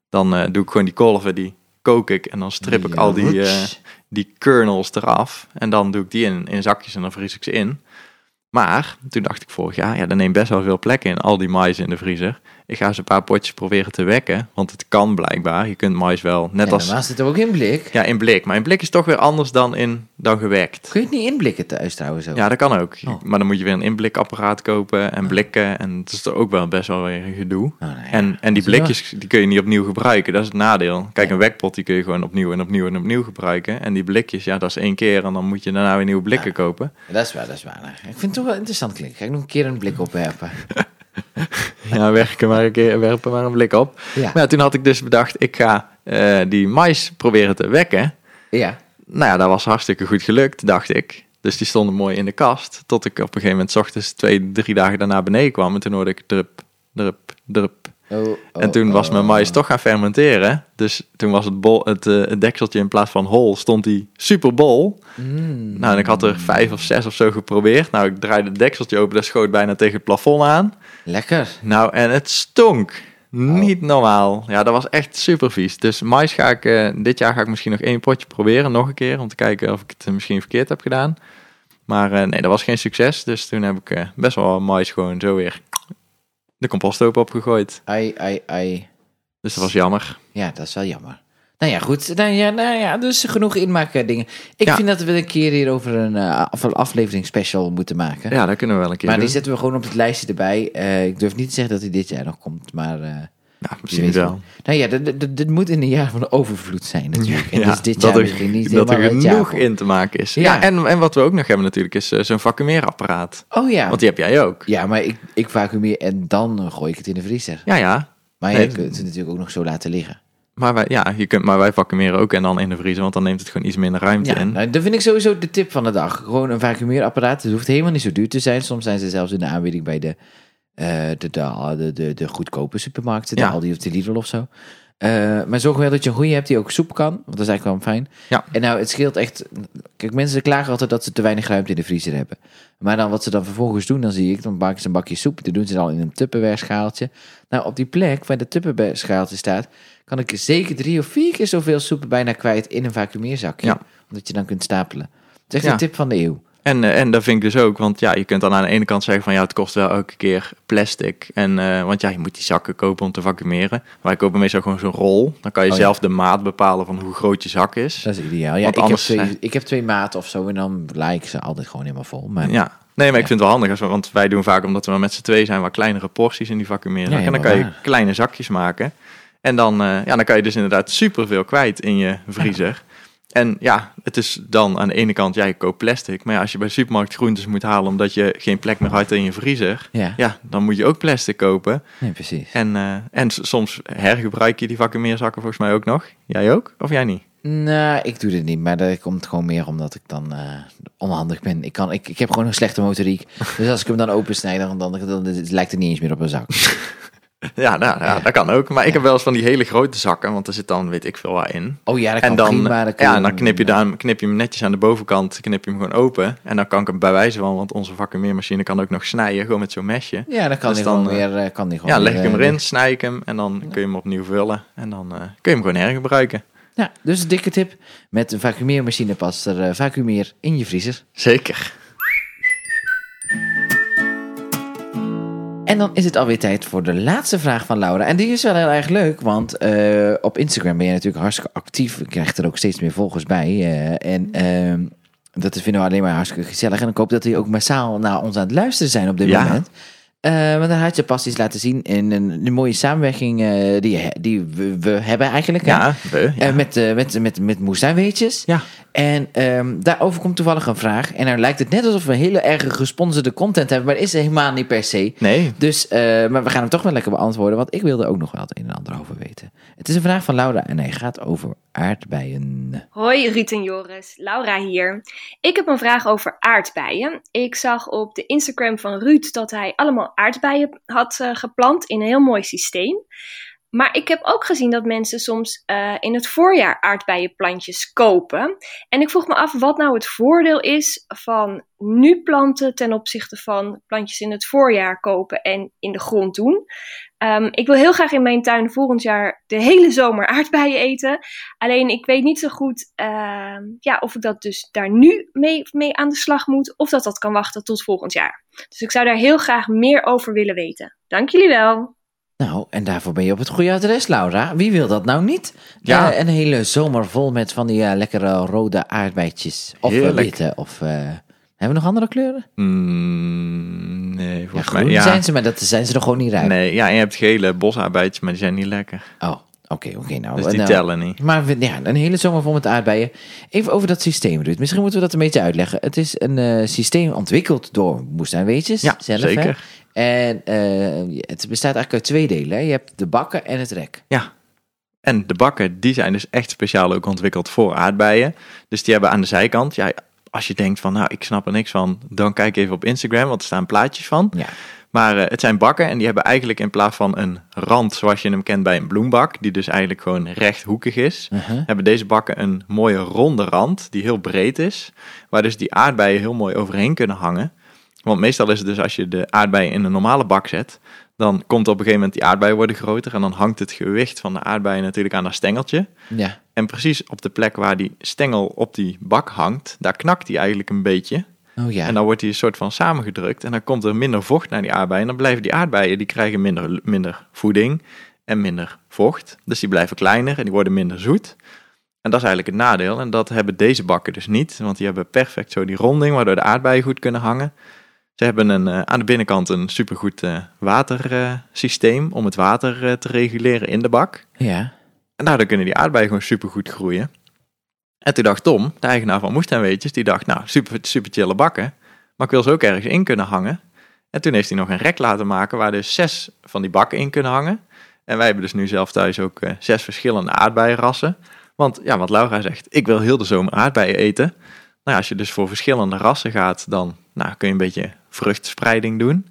C: Dan eh, doe ik gewoon die kolven, die kook ik en dan strip ik
B: Die,
C: al
B: eh,
C: die, eh,
B: roots.
C: die kernels eraf. En dan doe ik die in, in zakjes en dan vries ik ze in. Maar toen dacht ik vorig jaar, ja, dat neemt best wel veel plek in, al die mais in de vriezer. Ik ga eens een paar potjes proberen te wekken, want het kan blijkbaar. Je kunt mais wel, net
B: Ja,
C: als...
B: normaal zit er ook in blik.
C: Ja, in blik. Maar in blik is toch weer anders dan, in, dan gewekt.
B: Kun je het niet inblikken thuis trouwens ook?
C: Ja, dat kan ook.
B: Oh.
C: Maar dan moet je weer een inblikapparaat kopen en blikken. En het is er ook wel best wel weer een gedoe.
B: nou ja,
C: en, en die
B: dat is wel-
C: blikjes die kun je niet opnieuw gebruiken. Dat is het nadeel. Kijk, een wekpot die kun je gewoon opnieuw en opnieuw en opnieuw gebruiken. En die blikjes, ja, dat is één keer. En dan moet je daarna weer nieuwe blikken kopen.
B: Dat is waar, dat is waar. Ik vind het toch wel interessant klinken. Ga ik nog een keer een blik opwerpen.
C: Ja, *laughs* werken maar een keer, werpen maar een blik op.
B: Ja. *laughs*
C: Maar ja, toen had ik dus bedacht, ik ga eh, die mais proberen te wekken.
B: ja.
C: Nou ja, dat was hartstikke goed gelukt, dacht ik. Dus die stonden mooi in de kast. Tot ik op een gegeven moment 's ochtends twee, drie dagen daarna beneden kwam. En toen hoorde ik drup, drup, drup.
B: Oh, oh,
C: en toen was
B: oh,
C: mijn mais
B: oh.
C: toch gaan fermenteren. Dus toen was het, bol, het, eh, het dekseltje in plaats van hol, stond die superbol.
B: Mm.
C: Nou, en ik had er vijf of zes of zo geprobeerd. Nou, ik draaide het dekseltje open, dat schoot bijna tegen het plafond aan.
B: Lekker.
C: Nou, en het stonk. Niet normaal. Ja, dat was echt super vies. Dus mais ga ik, eh, dit jaar ga ik misschien nog één potje proberen, nog een keer, om te kijken of ik het eh, misschien verkeerd heb gedaan. Maar eh, nee, dat was geen succes. Dus toen heb ik eh, best wel wat mais gewoon zo weer de composthoop opgegooid.
B: Ai, ai, ai.
C: Dus dat was jammer.
B: Ja, dat is wel jammer. Nou ja, goed. Nou ja, nou ja dus genoeg inmaken dingen. Ik
C: Ja.
B: vind dat we een keer hierover een eh, af- aflevering special moeten maken.
C: Ja, dat kunnen we wel een keer
B: maar die
C: doen.
B: zetten we gewoon op het lijstje erbij. Eh, ik durf niet te zeggen dat hij dit jaar nog komt, maar... eh,
C: Ja,
B: wie
C: misschien
B: weet
C: wel.
B: Nou ja, dit- dit dit moet in een jaar van de overvloed zijn natuurlijk. En
C: Ja,
B: dus dit
C: dat
B: jaar
C: er-
B: misschien niet
C: dat er
B: helemaal het jaar
C: genoeg
B: van.
C: in te maken is. Ja,
B: Ja.
C: en, en wat we ook nog hebben natuurlijk is eh, zo'n vacuumeerapparaat.
B: Oh ja.
C: Want die heb jij ook.
B: Ja, maar ik, ik vacuumeer en dan eh, gooi ik het in de vriezer.
C: Ja, ja.
B: Maar je
C: Nee.
B: kunt het natuurlijk ook nog zo laten liggen.
C: Maar wij, ja, je kunt, maar wij vacuumeren ook en dan in de vriezer, want dan neemt het gewoon iets minder ruimte
B: Ja,
C: in.
B: nou, dat vind ik sowieso de tip van de dag. Gewoon een vacuumeerapparaat. Het hoeft helemaal niet zo duur te zijn. Soms zijn ze zelfs in de aanbieding bij de, eh, de, de, de, de, de goedkope supermarkten. De
C: Ja.
B: Aldi of de Lidl of zo. Eh, maar zorg wel dat je een goede hebt die ook soep kan. Want dat is eigenlijk wel fijn.
C: Ja.
B: En nou, het scheelt echt... Kijk, mensen klagen altijd dat ze te weinig ruimte in de vriezer hebben. Maar dan wat ze dan vervolgens doen, dan zie ik... Dan bakken ze een bakje soep. Dat doen ze dan in een Tupperware schaaltje. Nou, op die plek waar de Tupperware schaaltje staat... kan ik zeker drie of vier keer zoveel soep bijna kwijt in een vacuümeerzakje.
C: Ja.
B: Omdat je dan kunt stapelen. Het is echt
C: Ja.
B: een tip van de eeuw.
C: En, eh, en dat vind ik dus ook, want ja, je kunt dan aan de ene kant zeggen van ja, het kost wel elke keer plastic. En, eh, want ja, je moet die zakken kopen om te vacuumeren. Maar ik koop meestal gewoon zo'n rol. Dan kan je
B: Oh, ja.
C: zelf de maat bepalen van hoe groot je zak is.
B: Dat is ideaal. Ja,
C: Want
B: ik,
C: anders,
B: heb
C: eh,
B: twee, ik heb twee maten of zo en dan lijk ik ze altijd gewoon helemaal vol. Maar
C: Ja. Nee, maar
B: Ja.
C: ik vind het wel handig, als we- want wij doen vaak, omdat we maar met z'n twee zijn, wat kleinere porties in die vacuumeren.
B: Ja,
C: en dan kan
B: helemaal
C: je
B: waar.
C: kleine zakjes maken. En dan, eh, ja, dan kan je dus inderdaad superveel kwijt in je vriezer. En ja, het is dan aan de ene kant, jij koopt plastic. Maar ja, als je bij de supermarkt groentes moet halen omdat je geen plek meer had in je vriezer.
B: Ja.
C: Ja, dan moet je ook plastic kopen.
B: nee, precies.
C: En, eh, en s- soms hergebruik je die vacuumeerzakken volgens mij ook nog. Jij ook? Of jij
B: *laughs*
C: niet?
B: Nou, ik doe dit niet, maar dat komt gewoon meer omdat ik dan eh, onhandig ben. Ik, kan, ik, ik heb gewoon een slechte motoriek. Dus als ik hem dan opensnijd, dan, dan, dan, het lijkt het niet eens meer op een zak.
C: Ja, nou, ja, dat kan ook. Maar ik heb wel eens van die hele grote zakken, want er zit dan weet ik veel wat in.
B: Oh ja, dat kan
C: En dan,
B: prima. dat kun
C: ja,
B: je- eh,
C: en dan knip, je daar, knip je hem netjes aan de bovenkant, knip je hem gewoon open. En dan kan ik hem bij wijze van, want onze vacuummeermachine kan ook nog snijden, gewoon met zo'n mesje.
B: Ja, dan kan
C: Dus
B: hij
C: dan,
B: gewoon weer... eh, Kan die gewoon
C: Ja, leg ik
B: weer,
C: hem
B: eh,
C: erin, snij ik hem en dan kun je hem opnieuw vullen. En dan eh, kun je hem gewoon hergebruiken.
B: Ja, dus een dikke tip. Met een vacuümeermachine past er eh, vacuümeer in je vriezer.
C: Zeker.
B: En dan is het alweer tijd voor de laatste vraag van Laura. En die is wel heel erg leuk, want eh, op Instagram ben je natuurlijk hartstikke actief. Je krijgt er ook steeds meer volgers bij. eh, en ehm, dat vinden we alleen maar hartstikke gezellig. En ik hoop dat die ook massaal naar ons aan het luisteren zijn op dit
C: Ja.
B: moment. Eh, want daar had je pas iets laten zien in een, een mooie samenwerking eh, die, je- die we, we hebben eigenlijk. hè?
C: Ja, we, ja.
B: Eh, met, eh, met, met, met moestuinweetjes.
C: Ja.
B: En ehm, daarover komt toevallig een vraag. En er lijkt het net alsof we hele erg gesponsorde content hebben. Maar dat is helemaal niet per se.
C: Nee,
B: Dus, eh, maar we gaan hem toch wel lekker beantwoorden, want ik wilde ook nog wel het een en ander over weten. Het is een vraag van Laura en hij gaat over aardbeien.
F: Hoi Ruud en Joris, Laura hier. Ik heb een vraag over aardbeien. Ik zag op de Instagram van Ruud dat hij allemaal aardbeien had eh, geplant in een heel mooi systeem. Maar ik heb ook gezien dat mensen soms eh, in het voorjaar aardbeienplantjes kopen. En ik vroeg me af wat nou het voordeel is van nu planten ten opzichte van plantjes in het voorjaar kopen en in de grond doen. Ehm, ik wil heel graag in mijn tuin volgend jaar de hele zomer aardbeien eten. Alleen ik weet niet zo goed ehm, ja, of ik dat dus daar nu mee, mee aan de slag moet. Of dat dat kan wachten tot volgend jaar. Dus ik zou daar heel graag meer over willen weten. Dank jullie wel.
B: Nou, en daarvoor ben je op het goede adres, Laura. Wie wil dat nou niet?
C: Ja.
B: Eh, een hele zomer vol met van die eh, lekkere rode aardbeidjes. Of eh,
C: Heerlijk.
B: witte, of... eh, hebben we nog andere kleuren?
C: Mm, nee
B: Ja,
C: volgens
B: groen
C: mij. Ja,
B: zijn ze, maar dat zijn ze nog gewoon niet rijp.
C: nee, ja, en je hebt gele bosaardbeidjes, maar die zijn niet lekker.
B: Oh, oké, oké. nou,
C: Dus die
B: nou,
C: tellen niet.
B: Maar we- ja, een hele zomer vol met aardbeien. Even over dat systeem, Ruud. Misschien moeten we dat een beetje uitleggen. Het is een eh, systeem ontwikkeld door moestuinweetjes
C: Ja,
B: zelf. hè?
C: zeker.
B: En eh, het bestaat eigenlijk uit twee delen. Hè? Je hebt de bakken en het rek.
C: Ja. En de bakken, die zijn dus echt speciaal ook ontwikkeld voor aardbeien. Dus die hebben aan de zijkant, ja, als je denkt van, nou, ik snap er niks van, dan kijk even op Instagram, want er staan plaatjes van.
B: Ja.
C: Maar eh, het zijn bakken en die hebben eigenlijk in plaats van een rand zoals je hem kent bij een bloembak, die dus eigenlijk gewoon rechthoekig is, hebben deze bakken een mooie ronde rand die heel breed is, waar dus die aardbeien heel mooi overheen kunnen hangen. Want meestal is het dus als je de aardbeien in een normale bak zet, dan komt op een gegeven moment die aardbeien worden groter en dan hangt het gewicht van de aardbeien natuurlijk aan dat stengeltje.
B: Ja.
C: En precies op de plek waar die stengel op die bak hangt, daar knakt die eigenlijk een beetje.
B: Oh ja.
C: En dan wordt die een soort van samengedrukt. En dan komt er minder vocht naar die aardbeien. En dan blijven die aardbeien, die krijgen minder, minder voeding en minder vocht. Dus die blijven kleiner en die worden minder zoet. En dat is eigenlijk het nadeel. En dat hebben deze bakken dus niet. Want die hebben perfect zo die ronding, waardoor de aardbeien goed kunnen hangen. Ze hebben een, eh, aan de binnenkant een supergoed eh, watersysteem om het water eh, te reguleren in de bak.
B: ja.
C: En daardoor kunnen die aardbeien gewoon supergoed groeien. En toen dacht Tom, de eigenaar van Moestuinweetjes, die dacht, nou, super, super chille bakken. Maar ik wil ze ook ergens in kunnen hangen. En toen heeft hij nog een rek laten maken waar dus zes van die bakken in kunnen hangen. En wij hebben dus nu zelf thuis ook eh, zes verschillende aardbeienrassen. Want ja, wat Laura zegt, ik wil heel de zomer aardbeien eten. Nou, ja, als je dus voor verschillende rassen gaat, dan nou, kun je een beetje vruchtspreiding doen.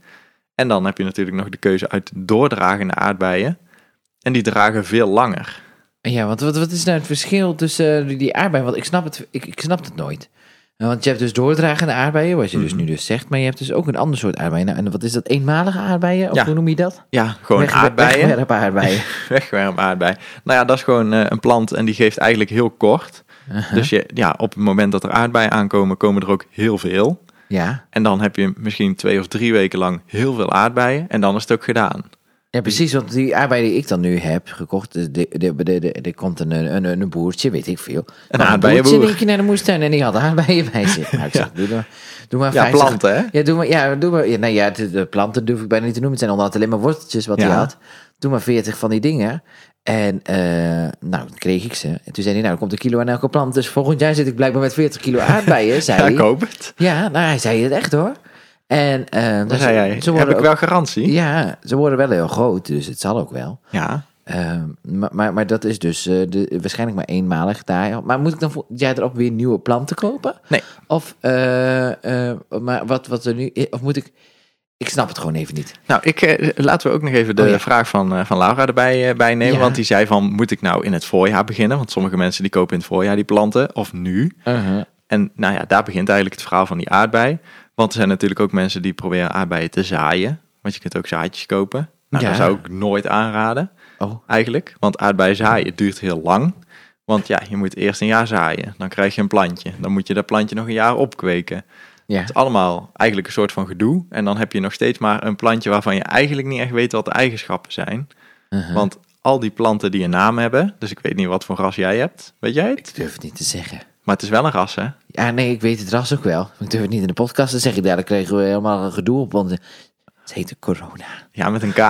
C: En dan heb je natuurlijk nog de keuze uit doordragende aardbeien. En die dragen veel langer.
B: Ja, want wat, wat is nou het verschil tussen eh, die aardbeien? Want ik snap het, ik, ik snap het nooit. Eh, Want je hebt dus doordragende aardbeien, wat je dus
C: Mm-hmm.
B: nu dus zegt. Maar je hebt dus ook een ander soort aardbeien. Nou, en wat is dat? Eenmalige aardbeien? Of
C: Ja.
B: hoe noem je dat?
C: Ja, gewoon
B: Wegwe-
C: aardbeien.
B: Wegwerp aardbeien.
C: *laughs* Wegwerp aardbei. Nou ja, dat is gewoon eh, een plant en die geeft eigenlijk heel kort.
B: Uh-huh.
C: Dus je, ja, op het moment dat er aardbeien aankomen, komen er ook heel veel.
B: ja.
C: En dan heb je misschien twee of drie weken lang heel veel aardbeien. En dan is het ook gedaan.
B: ja, precies. Want die aardbeien die ik dan nu heb gekocht, de, de, de, de, de- er komt een, een, een boertje, weet ik veel. Maar
C: aardbeienboer.
B: boertje in één keer naar de moestuin en die had aardbeien bij
C: *laughs*
B: zich. Nou, ik zeg, doe, maar- doe maar
C: Ja,
B: 50
C: planten, hè?
B: Ja, doe maar, ja, doe maar, ja, nou ja, de, de planten durf ik bijna niet te noemen. Het zijn onderhand alleen maar worteltjes wat hij
C: Ja.
B: had. Doe maar 40 van die dingen. En eh, nou, dan kreeg ik ze. En toen zei hij, nou, er komt een kilo aan elke plant. Dus volgend jaar zit ik blijkbaar met 40 kilo
C: *laughs*
B: aardbeien, zei
C: Ja, ik
B: hij.
C: hoop het.
B: Ja, nou, hij zei het echt hoor. En eh,
C: Dan
B: ze-
C: zei jij,
B: ze
C: heb
B: worden
C: ik
B: ook-
C: wel garantie?
B: Ja, ze worden wel heel groot, dus het zal ook wel.
C: Ja.
B: Ehm, maar, maar, maar dat is dus eh, de, waarschijnlijk maar eenmalig daar. Maar moet ik dan volgend jaar er ook weer nieuwe planten kopen?
C: Nee.
B: Of, eh, eh, maar wat, wat er nu i- Of moet ik... Ik snap het gewoon even niet.
C: Nou, ik, eh, laten we ook nog even de
B: Oh, ja.
C: vraag van, eh, van Laura erbij eh, bij nemen.
B: Ja.
C: Want die zei van, moet ik nou in het voorjaar beginnen? Want sommige mensen die kopen in het voorjaar die planten. Of nu. En nou ja, daar begint eigenlijk het verhaal van die aardbei. Want er zijn natuurlijk ook mensen die proberen aardbeien te zaaien. Want je kunt ook zaadjes kopen. Nou,
B: Ja.
C: dat zou ik nooit aanraden,
B: Oh,
C: eigenlijk. Want aardbeien zaaien duurt heel lang. Want ja, je moet eerst een jaar zaaien. Dan krijg je een plantje. Dan moet je dat plantje nog een jaar opkweken. Het
B: ja.
C: is allemaal eigenlijk een soort van gedoe. En dan heb je nog steeds maar een plantje waarvan je eigenlijk niet echt weet wat de eigenschappen zijn.
B: Mhm.
C: Want al die planten die een naam hebben, dus ik weet niet wat voor ras jij hebt. Weet jij het?
B: Ik durf het niet te zeggen.
C: Maar het is wel een ras, hè?
B: Ja, nee, ik weet het ras ook wel. Maar Ik durf het niet in de podcast te zeggen. Daar kregen we helemaal een gedoe op. Want eh, het heette corona.
C: Ja, met
B: *laughs*
C: een K.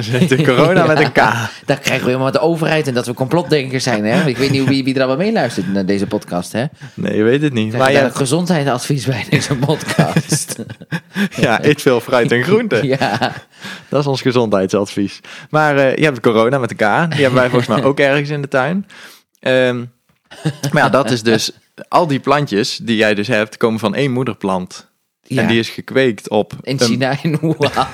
C: Zet de corona met een K.
B: Daar krijgen we helemaal de overheid en dat we complotdenkers zijn. Hè? Ik weet niet wie, wie er allemaal meeluistert naar deze podcast. Hè?
C: Nee, je weet het niet.
B: Krijg
C: Maar
B: je
C: ja,
B: daar gezondheidsadvies bij
C: *laughs*
B: deze podcast?
C: ja, eet veel fruit en groenten.
B: *laughs* ja.
C: Dat is ons gezondheidsadvies. Maar eh, je hebt corona met een K. Die hebben wij volgens
B: *laughs*
C: mij ook ergens in de tuin. Ehm, maar ja, dat is dus... Al die plantjes die jij dus hebt, komen van één moederplant.
B: ja.
C: En die is gekweekt op...
B: In
C: een-
B: China, in Wuhan.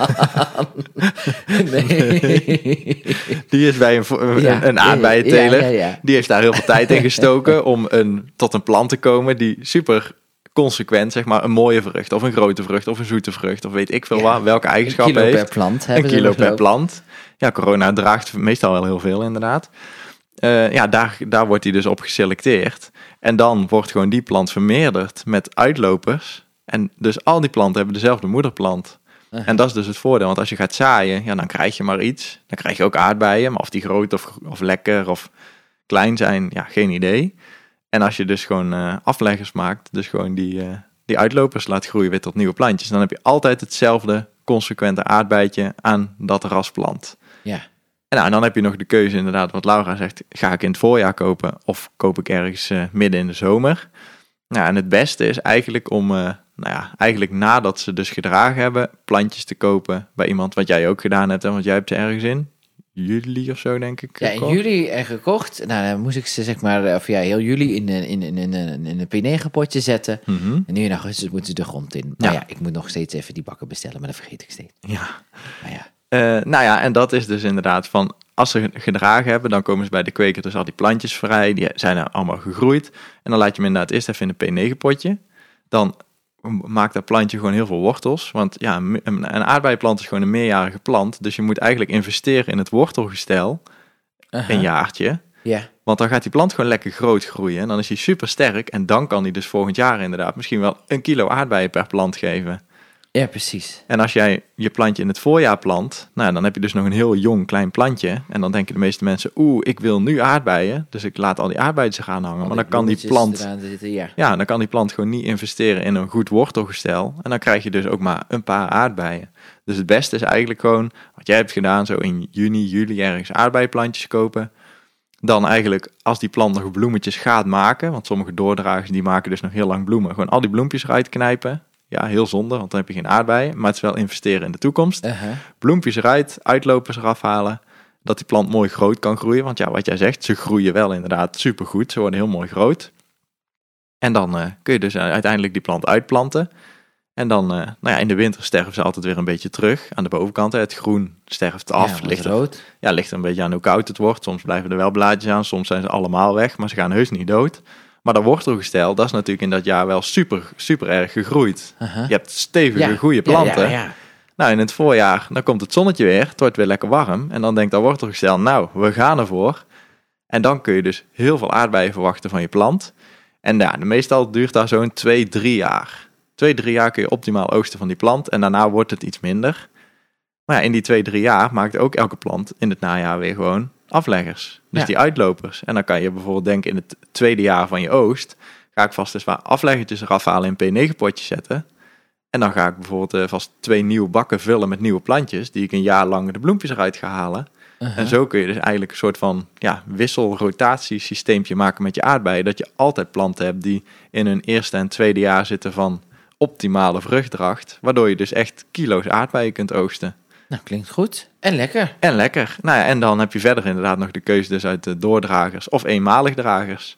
C: *laughs*
B: nee.
C: die is bij een, vo- een,
B: Ja.
C: een aardbeienteler.
B: Ja, ja, ja.
C: Die heeft daar heel veel tijd in
B: *laughs*
C: gestoken om een, tot een plant te komen die super consequent, zeg maar, een mooie vrucht of een grote vrucht of een zoete vrucht of weet ik veel
B: Ja.
C: wat, welke
B: Een
C: eigenschappen
B: kilo per
C: heeft.
B: plant
C: een
B: hebben ze
C: kilo per
B: geloof ik.
C: plant. Ja, corona draagt meestal wel heel veel inderdaad. Eh, ja, daar, daar wordt hij dus op geselecteerd. En dan wordt gewoon die plant vermeerderd met uitlopers. En dus al die planten hebben dezelfde moederplant. En dat is dus het voordeel. Want als je gaat zaaien, ja, dan krijg je maar iets. Dan krijg je ook aardbeien. Maar of die groot of, of lekker of klein zijn, ja, geen idee. En als je dus gewoon eh, afleggers maakt, dus gewoon die, eh, die uitlopers laat groeien weer tot nieuwe plantjes. Dan heb je altijd hetzelfde consequente aardbeidje aan dat rasplant.
B: Ja.
C: En, nou, en dan heb je nog de keuze inderdaad, wat Laura zegt, ga ik in het voorjaar kopen of koop ik ergens eh, midden in de zomer? Nou, en het beste is eigenlijk om, eh, nou ja, eigenlijk nadat ze dus gedragen hebben, plantjes te kopen bij iemand, wat jij ook gedaan hebt, hè, want jij hebt ze ergens in. Juli of zo, denk ik.
B: Ja, in
C: gekocht.
B: juli eh, gekocht. Nou, dan moest ik ze zeg maar, eh, of ja, heel juli in, een- in, in, in, een- in een P9-potje zetten.
C: Mhm.
B: En nu in augustus moeten ze de grond in. Maar ja.
C: Ja.
B: ik moet nog steeds even die bakken bestellen, maar dat vergeet ik steeds.
C: Ja.
B: Maar ja,
C: Eh, nou ja, en dat is dus inderdaad van als ze gedragen hebben, dan komen ze bij de kweker dus al die plantjes vrij. Die zijn er allemaal gegroeid. En dan laat je hem inderdaad eerst even in een P9-potje. Dan maakt dat plantje gewoon heel veel wortels. Want ja, een, een aardbeienplant is gewoon een meerjarige plant. Dus je moet eigenlijk investeren in het wortelgestel. Een jaartje.
B: ja.
C: Want dan gaat die plant gewoon lekker groot groeien. En dan is hij super sterk. En dan kan hij dus volgend jaar inderdaad misschien wel een kilo aardbeien per plant geven.
B: ja precies.
C: En als jij je plantje in het voorjaar plant, nou, dan heb je dus nog een heel jong klein plantje. En dan denken de meeste mensen, oeh, ik wil nu aardbeien. Dus ik laat al die aardbeien zich aanhangen. Maar dan kan die
B: Bloemetjes
C: plant,
B: eraan Zitten, ja.
C: ja, dan kan die plant gewoon niet investeren in een goed wortelgestel. En dan krijg je dus ook maar een paar aardbeien. Dus het beste is eigenlijk gewoon, wat jij hebt gedaan, zo in juni, juli ergens aardbeienplantjes kopen. Dan eigenlijk, als die plant nog bloemetjes gaat maken, want sommige doordragers die maken dus nog heel lang bloemen. Gewoon al die bloempjes eruit knijpen. Ja, heel zonde, want dan heb je geen aardbeien. Maar het is wel investeren in de toekomst
B: Uh-huh.
C: bloempjes eruit, uitlopers eraf halen. Dat die plant mooi groot kan groeien. Want ja, wat jij zegt, ze groeien wel inderdaad supergoed. eh, Ze worden heel mooi groot. En dan eh, kun je dus uiteindelijk die plant uitplanten. En dan, eh, nou ja, in de winter sterven ze altijd weer een beetje terug aan de bovenkant. hè. Het groen sterft af,
B: Ja,
C: ligt,
B: ligt
C: er-
B: rood.
C: ja, ligt er een beetje aan hoe koud het wordt. Soms blijven er wel blaadjes aan, soms zijn ze allemaal weg, maar ze gaan heus niet dood. Maar dat wortelgestel, dat is natuurlijk in dat jaar wel super, super erg gegroeid.
B: Aha.
C: Je hebt stevige, goede planten.
B: Ja, ja, ja.
C: Nou, in het voorjaar, dan komt het zonnetje weer, het wordt weer lekker warm. En dan denkt dat wortelgestel, nou, we gaan ervoor. En dan kun je dus heel veel aardbeien verwachten van je plant. En ja, meestal duurt daar zo'n 2, 3 jaar. 2, 3 jaar kun je optimaal oogsten van die plant en daarna wordt het iets minder. Maar ja, in die 2, 3 jaar maakt ook elke plant in het najaar weer gewoon afleggers. Dus
B: Ja.
C: die uitlopers. En dan kan je bijvoorbeeld denken in het tweede jaar van je oogst, ga ik vast eens wat afleggertjes eraf halen in P9-potjes zetten. En dan ga ik bijvoorbeeld eh, vast twee nieuwe bakken vullen met nieuwe plantjes, die ik een jaar lang de bloempjes eruit ga halen. En zo kun je dus eigenlijk een soort van ja, wisselrotatiesysteempje maken met je aardbeien. Dat je altijd planten hebt die in hun eerste en tweede jaar zitten van optimale vruchtdracht. Waardoor je dus echt kilo's aardbeien kunt oogsten.
B: Nou, klinkt goed. En lekker.
C: En lekker. Nou ja, en dan heb je verder inderdaad nog de keuze dus uit de doordragers of eenmalig dragers.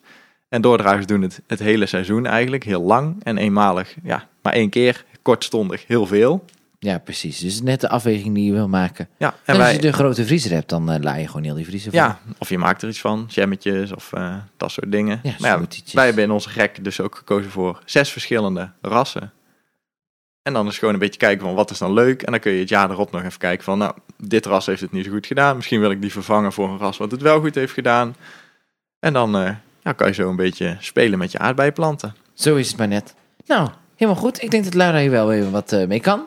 C: En doordragers doen het het hele seizoen eigenlijk, heel lang. En eenmalig, ja, maar één keer, kortstondig, heel veel.
B: Ja, precies. Dus net de afweging die je wil maken.
C: Ja, en
B: En
C: wij...
B: als je de grote vriezer hebt, dan eh, laai je gewoon heel die vriezer vol.
C: Ja, of je maakt er iets van, jammetjes of eh, dat soort dingen.
B: Ja,
C: maar ja,
B: smoothietjes.
C: wij hebben in onze gek dus ook gekozen voor zes verschillende rassen. En dan is gewoon een beetje kijken van wat is dan leuk. En dan kun je het jaar erop nog even kijken van, nou, dit ras heeft het niet zo goed gedaan. Misschien wil ik die vervangen voor een ras wat het wel goed heeft gedaan. En dan eh, ja, kan je zo een beetje spelen met je aardbeienplanten.
B: Zo is het maar net. Nou, helemaal goed. Ik denk dat Laura hier wel even wat eh, mee kan.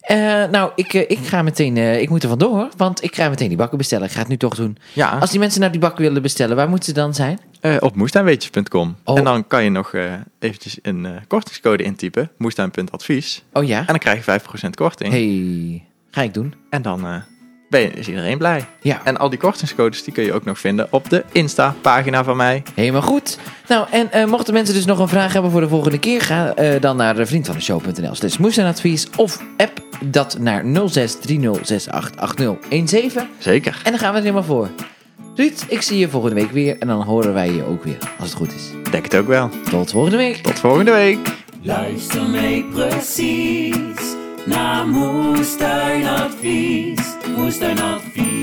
B: Eh, nou, ik, eh, ik ga meteen... eh, ik moet er vandoor, want ik ga meteen die bakken bestellen. Ik ga het nu toch doen.
C: Ja,
B: Als die mensen nou die bakken willen bestellen, waar moeten ze dan zijn?
C: eh, op moestuinweetjes.com.
B: Oh.
C: En dan kan je nog eh, eventjes een eh, kortingscode intypen, moestuin.advies.
B: Oh ja?
C: En dan krijg je 5% korting.
B: Hey, ga ik doen.
C: En dan eh, ben je, is iedereen blij.
B: Ja,
C: En al die kortingscodes die kun je ook nog vinden op de Insta-pagina van mij.
B: helemaal goed. Nou, en eh, mochten mensen dus nog een vraag hebben voor de volgende keer... ga eh, dan naar eh, vriendvandeshow.nl slash moestuinadvies... of app dat naar 0630688017.
C: Zeker.
B: En dan gaan we er helemaal voor. Ruud, ik zie je volgende week weer. En dan horen wij je ook weer, als het goed is.
C: Ik denk het ook wel.
B: Tot volgende week.
C: Tot volgende week.
A: Luister mee precies naar Moestuinadvies. Moestuinadvies.